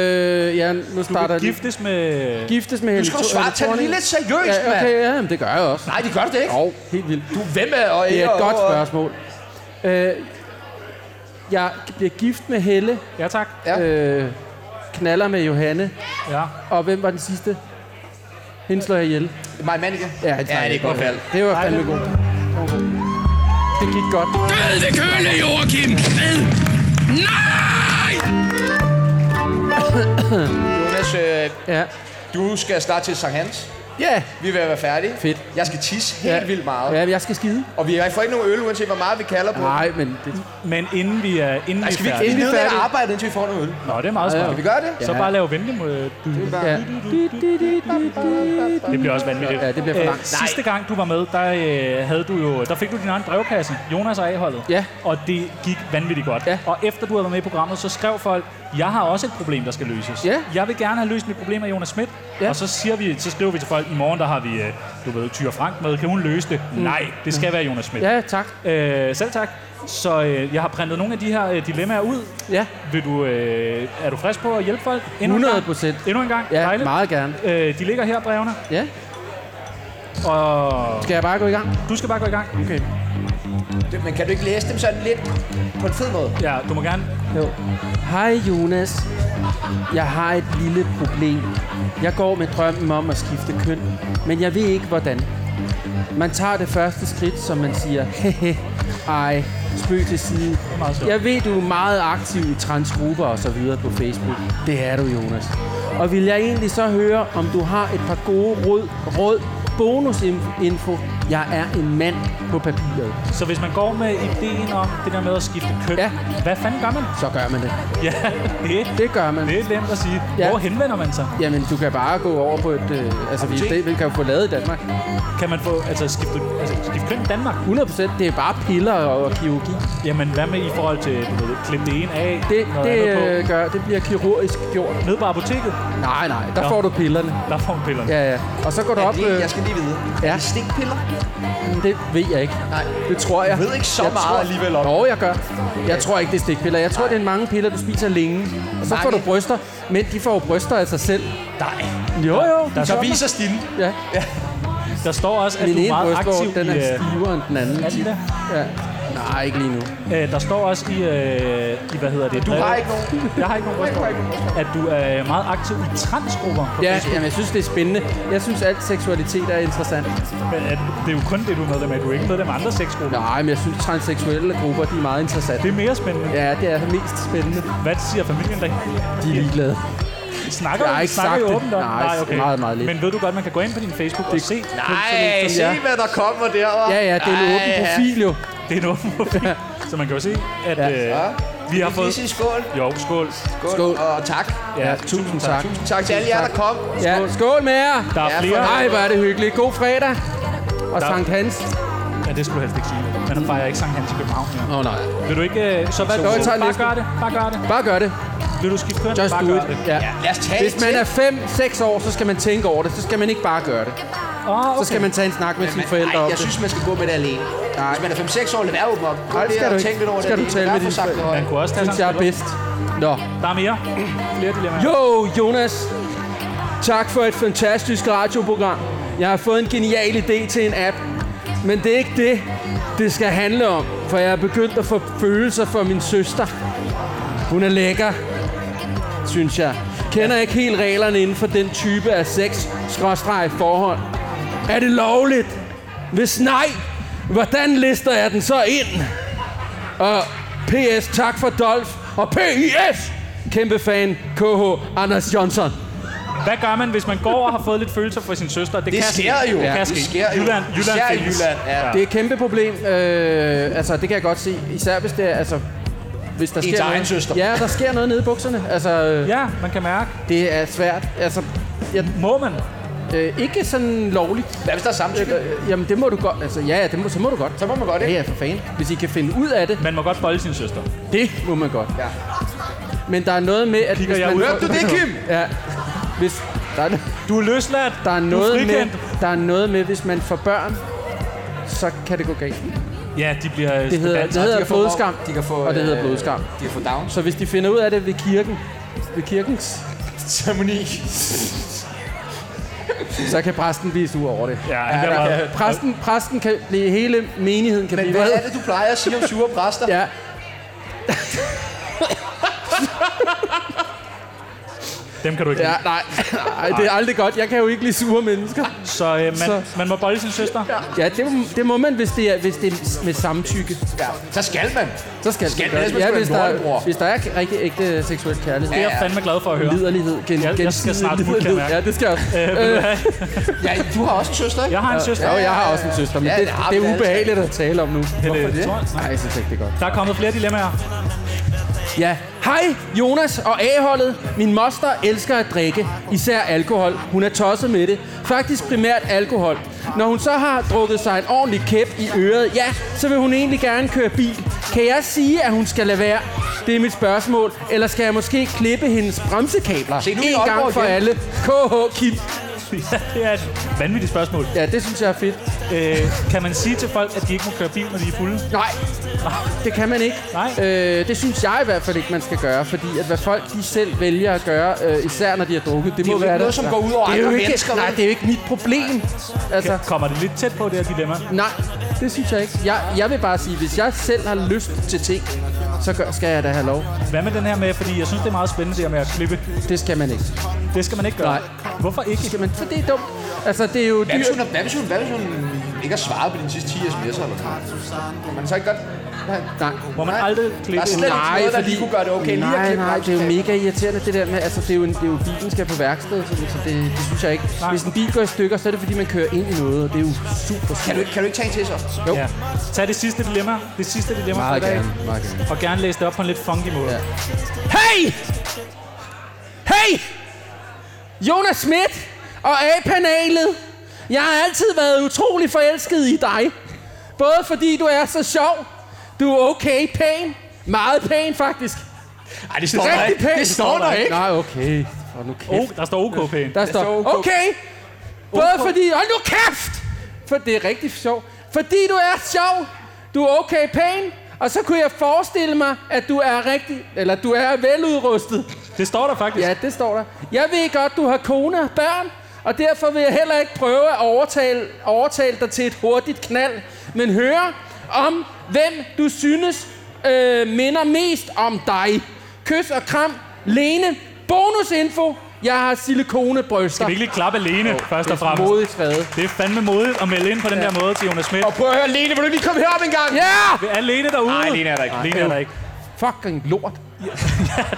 Speaker 3: Øh, ja, nu
Speaker 1: Du
Speaker 3: starter
Speaker 1: vil
Speaker 3: den.
Speaker 1: giftes med...
Speaker 3: Giftes med
Speaker 2: Du
Speaker 3: Helle
Speaker 2: skal du
Speaker 3: Thor-
Speaker 2: svare,
Speaker 3: Helle
Speaker 2: tag det
Speaker 3: Thorning.
Speaker 2: lige lidt seriøst,
Speaker 3: Ja,
Speaker 2: mand.
Speaker 3: okay, ja, men det gør jeg også.
Speaker 2: Nej, det gør det ikke.
Speaker 3: Jo, helt vildt.
Speaker 2: Du, hvem er og
Speaker 3: Det er et
Speaker 2: og-
Speaker 3: godt
Speaker 2: og-
Speaker 3: spørgsmål. Øh, jeg bliver gift med Helle,
Speaker 1: Ja, tak.
Speaker 2: Ja.
Speaker 3: øh, knaller med Johanne,
Speaker 1: Ja.
Speaker 3: og hvem var den sidste? Hende slår jeg ihjel.
Speaker 2: Maja Mannicke.
Speaker 3: Ja,
Speaker 2: det er et godt valg.
Speaker 3: Det var fandme godt. Det gik godt.
Speaker 7: Død ved køle, Joachim! Død! Nej!
Speaker 2: Jonas, øh,
Speaker 3: Ja.
Speaker 2: du skal snart til Sankt Hans.
Speaker 3: Ja.
Speaker 2: Vi er ved at være færdige.
Speaker 3: Fedt.
Speaker 2: Jeg skal tisse
Speaker 3: ja.
Speaker 2: helt vildt meget.
Speaker 3: Ja, jeg skal skide.
Speaker 2: Og vi får ikke nogen øl, uanset hvor meget vi kalder på.
Speaker 3: Nej, men det,
Speaker 1: Men inden vi er inden
Speaker 2: Nej,
Speaker 1: vi
Speaker 2: skal
Speaker 1: er
Speaker 2: vi ikke
Speaker 1: færdige...
Speaker 3: vi er
Speaker 2: nedlægge
Speaker 3: færdige.
Speaker 2: arbejdet, indtil vi får noget øl?
Speaker 1: Nå, det er meget smart.
Speaker 2: Kan vi gøre det?
Speaker 1: Så
Speaker 3: Ja.
Speaker 1: bare lave vente mod... Du,
Speaker 3: ja.
Speaker 1: det bliver også vanvittigt.
Speaker 3: Ja, det bliver for
Speaker 1: Øh,
Speaker 3: langt.
Speaker 1: sidste gang du var med, der, øh, havde du jo, der fik du din egen brevkasse, Jonas og A-holdet.
Speaker 3: Ja.
Speaker 1: Og det gik vanvittigt godt.
Speaker 3: Ja.
Speaker 1: Og efter du havde været med i programmet, så skrev folk, jeg har også et problem, der skal løses.
Speaker 3: Ja.
Speaker 1: Jeg vil gerne have løst mit problem af Jonas Schmidt.
Speaker 3: Ja.
Speaker 1: Og så, siger vi, så skriver vi til folk, i morgen der har vi, øh, du ved, Tyre Frank med. Kan hun løse det? Mm. Nej, det skal være Jonas Schmidt.
Speaker 3: Ja, tak.
Speaker 1: Øh, selv tak. Så øh, jeg har printet nogle af de her øh, dilemmaer ud.
Speaker 3: Ja,
Speaker 1: Vil du, øh, er du frisk på at hjælpe folk? Endnu en gang?
Speaker 3: 100%.
Speaker 1: Endnu en gang?
Speaker 3: ja
Speaker 1: Dejligt.
Speaker 3: meget gerne.
Speaker 1: Øh, de ligger her, brevene.
Speaker 3: Ja.
Speaker 1: Og
Speaker 3: Skal jeg bare gå i gang?
Speaker 1: du skal bare gå i gang.
Speaker 3: Okay.
Speaker 2: Det- Men kan du ikke læse dem sådan lidt på en fed måde?
Speaker 1: Ja, du må gerne.
Speaker 3: Jo. Hej Jonas. Jeg har et lille problem. Jeg går med drømmen om at skifte køn, men jeg ved ikke hvordan. Man tager det første skridt, som man siger, hehe, ej, spøg til side.
Speaker 1: meget sjovt.
Speaker 3: Jeg ved, du er meget aktiv i transgrupper og så videre på Facebook. Det er du, Jonas. Og vil jeg egentlig så høre, om du har et par gode råd, råd bonusinfo. Jeg er en mand på papiret.
Speaker 1: Så hvis man går med ideen om det der med at skifte køn,
Speaker 3: Ja.
Speaker 1: ja. hvad fanden gør man?
Speaker 3: Så gør man det.
Speaker 1: Ja, det,
Speaker 3: Det gør man.
Speaker 1: det er nemt at sige.
Speaker 3: Ja.
Speaker 1: Ja. Hvor henvender man sig?
Speaker 3: Jamen, du kan bare gå over på et... Øh, altså, vi, det, vi kan jo få lavet i Danmark.
Speaker 1: Kan man få altså, skifte, altså, skifte køn i Danmark?
Speaker 3: 100% det er bare piller og kirurgi.
Speaker 1: Jamen, hvad med i forhold til, du ved, klemme det ene af?
Speaker 3: Det,
Speaker 1: noget
Speaker 3: det,
Speaker 1: andet på?
Speaker 3: øh, gør, det bliver kirurgisk gjort.
Speaker 1: Nede på apoteket,
Speaker 3: Nej, nej, der
Speaker 1: Nå.
Speaker 3: får du pillerne.
Speaker 1: der får man pillerne. Ja.
Speaker 3: Ja, ja. Og så går du op... Øh,
Speaker 9: Jeg skal lige vide.
Speaker 3: ja,
Speaker 9: Stikpiller?
Speaker 3: det ved jeg ikke.
Speaker 9: Nej.
Speaker 3: Det tror jeg.
Speaker 9: Du ved ikke så
Speaker 3: jeg
Speaker 9: meget
Speaker 3: tror...
Speaker 9: alligevel om
Speaker 3: Nå, jeg gør. Jeg tror ikke, det er stikpiller. Jeg tror, det er mange piller, du spiser længe. Og så får du bryster. Men de får jo bryster af sig selv.
Speaker 9: Nej.
Speaker 3: Jo, jo.
Speaker 1: Der,
Speaker 9: Så
Speaker 1: der,
Speaker 9: viser stille.
Speaker 3: Ja.
Speaker 1: der står også, at
Speaker 3: Den
Speaker 1: du er
Speaker 3: ene
Speaker 1: meget
Speaker 3: brystvort,
Speaker 1: aktiv
Speaker 3: den
Speaker 1: i...
Speaker 3: er
Speaker 1: øh,
Speaker 3: stivere end den anden.
Speaker 1: er den det?
Speaker 3: Ja. Nej, ikke lige nu.
Speaker 1: Øh, der står også i, øh, i, hvad hedder det? Du
Speaker 9: har ikke nogen.
Speaker 1: Jeg har ikke nogen brystvort. At du er meget aktiv i transgrupper på
Speaker 3: Ja,
Speaker 1: Facebook.
Speaker 3: jamen, jeg synes, det er spændende. Jeg synes, alt seksualitet er interessant.
Speaker 1: Men at, det er jo kun det, du er medlem af. Du er ikke medlem af andre sexgrupper.
Speaker 3: Nej, men jeg synes, transseksuelle grupper, de er meget interessante.
Speaker 1: Det er mere spændende.
Speaker 3: Ja, det er mest spændende.
Speaker 1: Hvad siger familien der?
Speaker 3: De er ligeglade.
Speaker 1: Snakker,
Speaker 3: Jeg har
Speaker 1: I-
Speaker 3: ikke
Speaker 1: snakker
Speaker 3: sagt
Speaker 1: I
Speaker 3: det.
Speaker 1: åbent om?
Speaker 3: Nej, meget, meget lidt.
Speaker 1: Men ved du godt, man kan gå ind på din Facebook og se?
Speaker 2: Ej, se hvad der kommer der, hva'?
Speaker 3: Ja, ja, det er en
Speaker 2: Ej,
Speaker 3: åben
Speaker 2: ja.
Speaker 3: profil jo.
Speaker 1: Det er en åben profil. Så man kan jo se, at
Speaker 3: Ja.
Speaker 1: ja. øh, vi har
Speaker 9: Vi
Speaker 1: fået...
Speaker 9: siger skål.
Speaker 1: Jo, skål.
Speaker 3: Skål.
Speaker 9: Skål. Og tak.
Speaker 3: Ja, tusind tak.
Speaker 9: Tak til alle jer, der kom.
Speaker 3: Ja, skål med jer.
Speaker 1: Der er
Speaker 2: Ja,
Speaker 1: flere...
Speaker 3: Nej, hvor er det hyggeligt. God fredag. Og
Speaker 1: Der-
Speaker 3: Sankt Hans.
Speaker 1: Ja, det skulle du helst ikke sige. Man fejrer ikke Sankt Hans i København mere.
Speaker 3: Åh, oh, nej.
Speaker 1: Vil du ikke... øh, Så hvad
Speaker 3: jeg tager
Speaker 1: du? Bare
Speaker 3: næsten.
Speaker 1: gør det. Bare gør det.
Speaker 3: Bare gør det.
Speaker 1: Vil du skifte køn?
Speaker 3: Just
Speaker 1: bare
Speaker 3: do
Speaker 1: gør
Speaker 3: it.
Speaker 1: det.
Speaker 3: Ja.
Speaker 9: Lad os tage
Speaker 3: Hvis
Speaker 9: et
Speaker 3: man
Speaker 9: til.
Speaker 3: er 5-6 år, så skal man tænke over det. Så skal man ikke bare gøre det.
Speaker 1: Åh, okay.
Speaker 3: Så skal man tage en snak med sine
Speaker 9: Men,
Speaker 3: forældre
Speaker 9: ej,
Speaker 3: om
Speaker 9: jeg
Speaker 3: det.
Speaker 9: synes, man skal gå med det alene. Nej. Hvis man er 5-6 år, lad være åbne op. Gå
Speaker 3: Nej, det
Speaker 9: der
Speaker 3: skal du
Speaker 9: og
Speaker 3: ikke.
Speaker 9: tænk lidt over det
Speaker 3: Skal du
Speaker 9: alene.
Speaker 3: tale
Speaker 9: Lad
Speaker 3: med
Speaker 9: være
Speaker 3: dine
Speaker 9: for sagt
Speaker 3: forældre?
Speaker 9: noget.
Speaker 1: Man kunne også tage
Speaker 3: synes jeg er
Speaker 1: Sankt
Speaker 3: bedst. Nå.
Speaker 1: Peter. Der er mere. Flere dilemmaer.
Speaker 3: Jo, Jonas. Tak for et fantastisk radioprogram. Jeg har fået en genial idé til en app. Men det er ikke det, det skal handle om. For jeg er begyndt at få følelser for min søster. Hun er lækker, synes jeg. Kender ikke helt reglerne inden for den type af sex skråstreg forhold. Er det lovligt? Hvis nej, hvordan lister jeg den så ind? Og PS, tak for Dolf. Og PIS, kæmpe fan, KH Anders Johnson.
Speaker 1: Hvad gør man, hvis man går og har fået lidt følelser for sin søster? Det,
Speaker 9: Det
Speaker 1: kan
Speaker 9: sker
Speaker 1: ske.
Speaker 9: jo.
Speaker 1: Det,
Speaker 9: Ja,
Speaker 1: kan
Speaker 9: det
Speaker 1: ske.
Speaker 9: sker jo.
Speaker 1: Jylland, Jylland
Speaker 9: Især i
Speaker 1: findes.
Speaker 9: Jylland, ja.
Speaker 3: Det er et kæmpe problem. Øh, altså, det kan jeg godt se. Især hvis det er, altså... Hvis der sker
Speaker 9: egen
Speaker 3: noget.
Speaker 9: søster.
Speaker 3: Ja, der sker noget nede i bukserne. Altså, øh,
Speaker 1: Ja, man kan mærke.
Speaker 3: det er svært. Altså, jeg,
Speaker 1: Må man?
Speaker 3: øh, ikke sådan lovligt.
Speaker 9: Hvad hvis der er samtykke?
Speaker 3: Øh, jamen, det må du godt. Altså, ja, ja, det må, så må du godt.
Speaker 9: Så må man godt,
Speaker 3: Ja,
Speaker 9: ikke?
Speaker 3: ja, for fanden. Hvis I kan finde ud af det,
Speaker 1: Man må godt bolde sin søster.
Speaker 3: det må man godt.
Speaker 9: Ja.
Speaker 3: Men der er noget med, at...
Speaker 1: Kigger
Speaker 3: hvis
Speaker 1: jeg
Speaker 3: man
Speaker 1: ud?
Speaker 3: får-
Speaker 1: Hørte du
Speaker 9: det, Kim?
Speaker 3: Ja. Hvis, der er,
Speaker 1: Du er løsladt.
Speaker 3: Der er,
Speaker 1: du er
Speaker 3: noget med,
Speaker 1: frikendt.
Speaker 3: der er noget med, hvis man får børn, så kan det gå galt.
Speaker 1: Ja, de bliver altså,
Speaker 3: Det hedder, det hedder
Speaker 9: kan få-
Speaker 3: blodskam,
Speaker 9: de kan få,
Speaker 3: og det hedder
Speaker 9: øh,
Speaker 3: blodskam.
Speaker 9: De kan få downs.
Speaker 3: Så hvis de finder ud af det ved kirken, ved kirkens,
Speaker 9: Harmoni.
Speaker 3: så kan præsten blive sur over det.
Speaker 1: Ja, han bliver meget-
Speaker 3: Præsten, præsten kan blive, hele menigheden kan
Speaker 9: Men
Speaker 3: blive
Speaker 9: hvad
Speaker 3: vred.
Speaker 9: er det, du plejer at sige om sure præster?
Speaker 3: Ja.
Speaker 1: Dem kan du ikke
Speaker 3: ja,
Speaker 1: ja.
Speaker 3: nej, nej, det er aldrig godt. Jeg kan jo ikke lide sure mennesker.
Speaker 1: Så øh, man,
Speaker 3: Så-
Speaker 1: man må bolde sin søster. Ja.
Speaker 3: Ja, det, må- det må man, hvis det er, hvis det er med samtykke.
Speaker 9: Ja. Så skal man.
Speaker 3: Så skal,
Speaker 9: Skal
Speaker 3: det
Speaker 9: man,
Speaker 3: gøre
Speaker 9: ellers
Speaker 3: det. Ja,
Speaker 9: man
Speaker 3: hvis
Speaker 9: skal
Speaker 3: der,
Speaker 9: være en
Speaker 3: er,
Speaker 9: lortebror.
Speaker 3: hvis der er rigtig ægte seksuel kærlighed.
Speaker 1: Det er jeg fandme glad for at høre.
Speaker 3: Liderlighed. Gen,
Speaker 1: Jeg- jeg skal
Speaker 3: gensidig
Speaker 1: snart ud, kan jeg
Speaker 3: liderlighed.
Speaker 1: mærke.
Speaker 3: Ja, det skal jeg også. Øh,
Speaker 9: Ja, du har også en søster, ikke?
Speaker 1: Jeg har en søster.
Speaker 3: Jo, jeg har også en søster, men
Speaker 9: Ja,
Speaker 3: ja, det,
Speaker 9: det har
Speaker 3: det,
Speaker 9: vi
Speaker 3: er
Speaker 9: alle
Speaker 3: ubehageligt at tale om nu.
Speaker 1: Hvorfor det?
Speaker 3: Nej, jeg synes ikke, det er godt.
Speaker 1: Der er kommet flere dilemmaer.
Speaker 3: Ja. Hej, Jonas og A-holdet. Min moster elsker at drikke, især alkohol. Hun er tosset med det. Faktisk primært alkohol. Når hun så har drukket sig en ordentlig kæp i øret, ja, så vil hun egentlig gerne køre bil. Kan jeg sige, at hun skal lade være? Det er mit spørgsmål. Eller skal jeg måske klippe hendes bremsekabler?
Speaker 9: Se, nu er vi i
Speaker 3: en gang
Speaker 9: Aalborg
Speaker 3: for
Speaker 9: igen.
Speaker 3: alle. KH Kim.
Speaker 1: Ja, det er et vanvittigt spørgsmål.
Speaker 3: Ja, det synes jeg er fedt.
Speaker 1: Øh, kan man sige til folk, at de ikke må køre bil, når de er fulde?
Speaker 3: Nej, det kan man ikke.
Speaker 1: Nej.
Speaker 3: Øh, det synes jeg i hvert fald ikke, man skal gøre, fordi at hvad folk de selv vælger at gøre, øh, især når de har drukket, det, det må
Speaker 9: jo
Speaker 3: være
Speaker 9: ikke noget,
Speaker 3: der.
Speaker 9: som går ud over
Speaker 3: det er jo
Speaker 9: andre
Speaker 3: ikke,
Speaker 9: mennesker,
Speaker 3: Nej,
Speaker 9: vel?
Speaker 3: det er jo ikke mit problem. Altså,
Speaker 1: Kommer det lidt tæt på, det her dilemma?
Speaker 3: nej, det synes jeg ikke. Jeg, jeg vil bare sige, hvis jeg selv har lyst til ting, så gør, skal jeg da have lov.
Speaker 1: Hvad med den her med, fordi jeg synes, det er meget spændende, det her med at klippe.
Speaker 3: Det skal man ikke.
Speaker 1: Det skal man ikke gøre.
Speaker 3: Nej.
Speaker 1: Hvorfor ikke?
Speaker 3: Det skal man, for det er dumt. Altså, det er jo
Speaker 9: Hvad hvis
Speaker 3: dyrt.
Speaker 9: hun, hvad hvis hun, hvad hvis hun ikke har svaret på dine sidste 10 sms'er eller sådan noget? Kan man så ikke godt... Nej.
Speaker 3: Nej. Altså,
Speaker 1: Hvor man aldrig
Speaker 9: Der
Speaker 1: klippe
Speaker 9: er slet ikke
Speaker 3: Nej,
Speaker 9: noget, der
Speaker 3: fordi-
Speaker 9: lige kunne gøre det okay. lige at
Speaker 3: Nej,
Speaker 9: klippe
Speaker 3: nej,
Speaker 9: ham.
Speaker 3: det er jo mega irriterende, det der med, altså det er jo, en, det er jo bilen skal på værksted, så, så det, det synes jeg ikke.
Speaker 1: Nej.
Speaker 3: Hvis en bil går i stykker, så er det fordi, man kører ind i noget, og det er jo super
Speaker 9: Kan
Speaker 3: surt.
Speaker 9: du, ikke- kan du ikke tage en til så?
Speaker 1: Ja. Tag det sidste dilemma. Det sidste dilemma
Speaker 3: Meget
Speaker 1: for i dag.
Speaker 3: gerne, meget gerne.
Speaker 1: Og gerne læse det op på en lidt funky måde.
Speaker 3: Ja.
Speaker 1: Ja.
Speaker 3: Hey! Hey! Jonas Schmidt og A-panelet. Jeg har altid været utrolig forelsket i dig. Både fordi du er så sjov, du er okay pæn, meget pæn faktisk.
Speaker 9: Nej, det står
Speaker 3: Rigtig pænt.
Speaker 9: Det står der ikke.
Speaker 3: Nej, okay. Hold nu kæft.
Speaker 1: Oh, der står OK pænt.
Speaker 3: Der står,
Speaker 9: står OK.
Speaker 3: okay, både fordi, hold nu kæft, for det er rigtig sjovt, fordi du er sjov, du er okay pæn, og så kunne jeg forestille mig, at du er rigtig, eller du er veludrustet.
Speaker 1: Det står der faktisk.
Speaker 3: Ja, det står der. Jeg ved godt, du har kone og børn, og derfor vil jeg heller ikke prøve at overtale, overtale dig til et hurtigt knald, men høre om, hvem du synes øh, minder mest om dig. Kys og kram, Lene, bonusinfo, jeg har silikonebryster.
Speaker 1: Skal vi ikke lige klappe alene, oh, først og fremmest?
Speaker 3: Modigt skrevet.
Speaker 1: Det er fandme modigt at melde ind på den der måde til Jonas Schmidt.
Speaker 9: Og prøv at høre, Lene, vil du ikke lige komme herop en gang?
Speaker 3: Ja!
Speaker 1: Vi er alene derude.
Speaker 9: Nej, Lene er der ikke.
Speaker 1: Lene er der ikke.
Speaker 3: Fucking lort.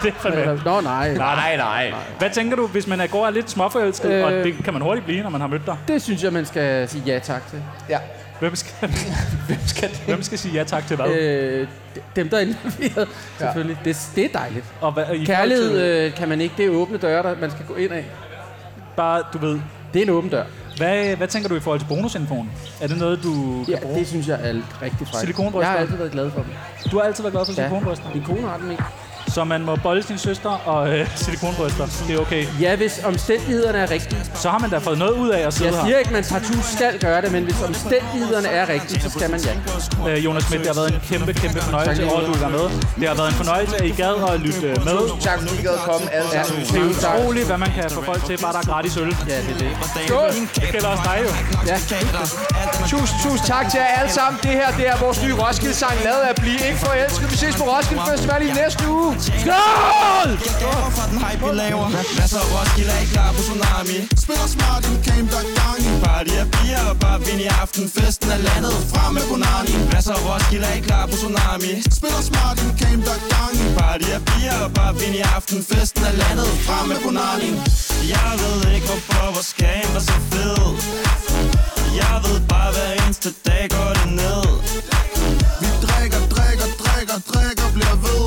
Speaker 1: Det er fandme.
Speaker 3: Nå, nej.
Speaker 9: Nej, nej.
Speaker 1: Hvad tænker du, hvis man er, går er lidt småforelsket, øh... og
Speaker 3: Øh.
Speaker 1: det kan man hurtigt blive, når man har mødt dig?
Speaker 3: Det synes jeg, man skal sige ja tak til.
Speaker 9: Ja.
Speaker 1: Hvem skal, hvem skal, hvem skal sige ja tak til hvad? Øh,
Speaker 3: Øh, d- dem, der er involveret, selvfølgelig. Det, det er dejligt.
Speaker 1: og hvad, i forhold
Speaker 3: Kærlighed
Speaker 1: til,
Speaker 3: øh, kan man ikke. Det er åbne døre, der man skal gå ind af.
Speaker 1: Bare, du ved,
Speaker 3: Det er en åben dør.
Speaker 1: hvad, hvad tænker du i forhold til bonusinfoen? Er det noget, du kan
Speaker 3: Ja,
Speaker 1: bruge?
Speaker 3: det synes jeg er rigtig frækt.
Speaker 1: Silikonbryster.
Speaker 3: Jeg har altid været glad for dem.
Speaker 1: Du har altid været glad for silikonbryster.
Speaker 3: Ja. Min kone har dem ikke.
Speaker 1: Så man må bolle sin søster og øh, silikonbryster. Det er okay.
Speaker 3: Ja, hvis omstændighederne er rigtige.
Speaker 1: Så har man da fået noget ud af at sidde
Speaker 3: Jeg siger ikke, man partout skal gøre det, men hvis omstændighederne er rigtige, så skal man ja.
Speaker 1: her. Øh, Jonas Schmidt, det har været en kæmpe, kæmpe fornøjelse,
Speaker 3: Tak.
Speaker 1: at du vil være med. Det har været en fornøjelse, at I gad at lytte øh, med.
Speaker 9: Tak, fordi I gad komme alle
Speaker 3: ja.
Speaker 9: sammen.
Speaker 1: Det er
Speaker 3: tak.
Speaker 1: utroligt, hvad man kan få folk til, bare der er gratis øl.
Speaker 3: Ja, det er det.
Speaker 9: Skål.
Speaker 1: Det gælder også dig jo.
Speaker 9: Tusind, tusind tak til jer alle sammen. Det her, det er vores nye Roskilde-sang, lavet af Blive Ikke Forelsket. Vi ses på Roskilde Festival i næste uge. Skål!
Speaker 10: gaver fra den hype, vi laver Masser af Roskilde er I klar på tsunami Spiller smart, en game, der er gang i Party af bier og bare vind i aften Festen er landet, frem med Bonani Masser af Roskilde er I klar på tsunami Spiller smart, en game, der er gang i Party af bier og bare vind i aften Festen er landet, frem med Bonani Jeg ved ikke, hvorfor vores game er så fed Jeg ved bare, hver eneste dag går det ned
Speaker 11: Vi drikker, drikker, drikker, drikker, bliver ved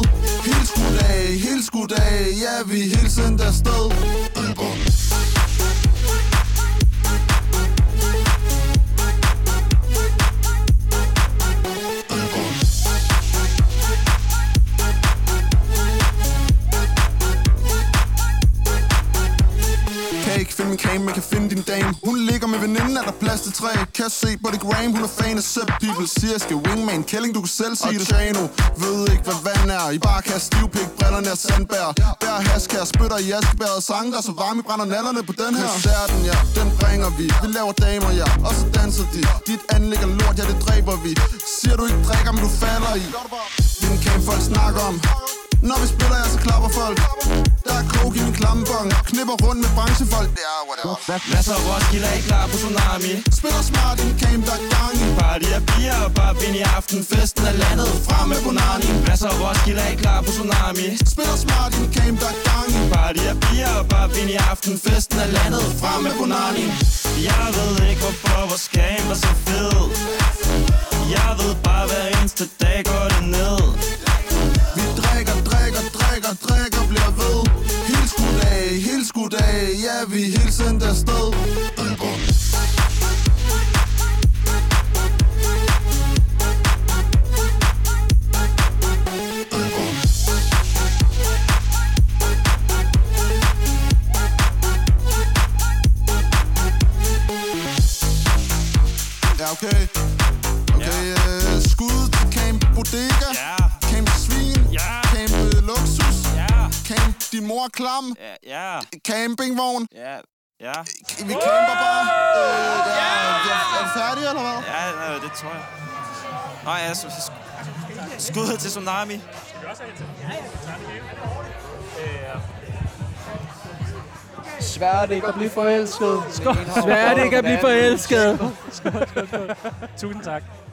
Speaker 11: Helt skudt af, helt skudt af, ja vi er hele tiden der sted Kan ikke finde min kame, men kan finde din dame Hun ligger med veninden, er der plads til tre Kan se på det gram, hun er fan af sub people Siger jeg skal wingman, Kælling du kan selv sige det Chano, ved ikke hvad vand er I bare kan stivpik, brillerne er sandbær Der er hask her, spytter i askebæret Sange der er så varme, I brænder nallerne på den her Koncerten ja, den bringer vi Vi laver damer ja, og så danser de Dit anlæg er lort, ja det dræber vi Siger du ikke drikker, men du falder i Din kame folk snakker om når vi spiller, jeg så klapper folk Der er coke i min klammebong Knipper rundt med branchefolk Ja, whatever
Speaker 10: Masser af Roskilde er I klar på tsunami
Speaker 11: Spiller smart i en game, der er gang i
Speaker 10: Party af bier og bare vind i aften Festen er landet, frem med Bonani Masser af Roskilde er I klar på tsunami
Speaker 11: Spiller smart i en game, der er gang i
Speaker 10: Party af bier og bare vind i aften Festen er landet, frem med Bonani Jeg ved ikke hvorfor vores game var så fed Jeg ved bare hver eneste dag går det ned
Speaker 11: Vi drikker, drikker, drikker, drikker Bliver ved Helt skudt af, helt skudt af Ja, vi er hele tiden der sted Ja, okay Okay, øh, skud til Camp Bodega
Speaker 10: Ja,
Speaker 11: Camp Svin
Speaker 10: Ja.
Speaker 11: Camp øh, Luksus
Speaker 10: ja,
Speaker 11: Camp Din mor er klam
Speaker 10: ja, ja,
Speaker 11: Campingvogn
Speaker 10: ja, ja,
Speaker 11: Vi camper bare. Øh, ja, ja, er du færdig, eller hvad?
Speaker 10: ja, det tror jeg Nej, altså, skud til tsunami
Speaker 12: Svært ikke at blive forelsket.
Speaker 1: Svært ikke at blive forelsket.
Speaker 13: Tusind tak.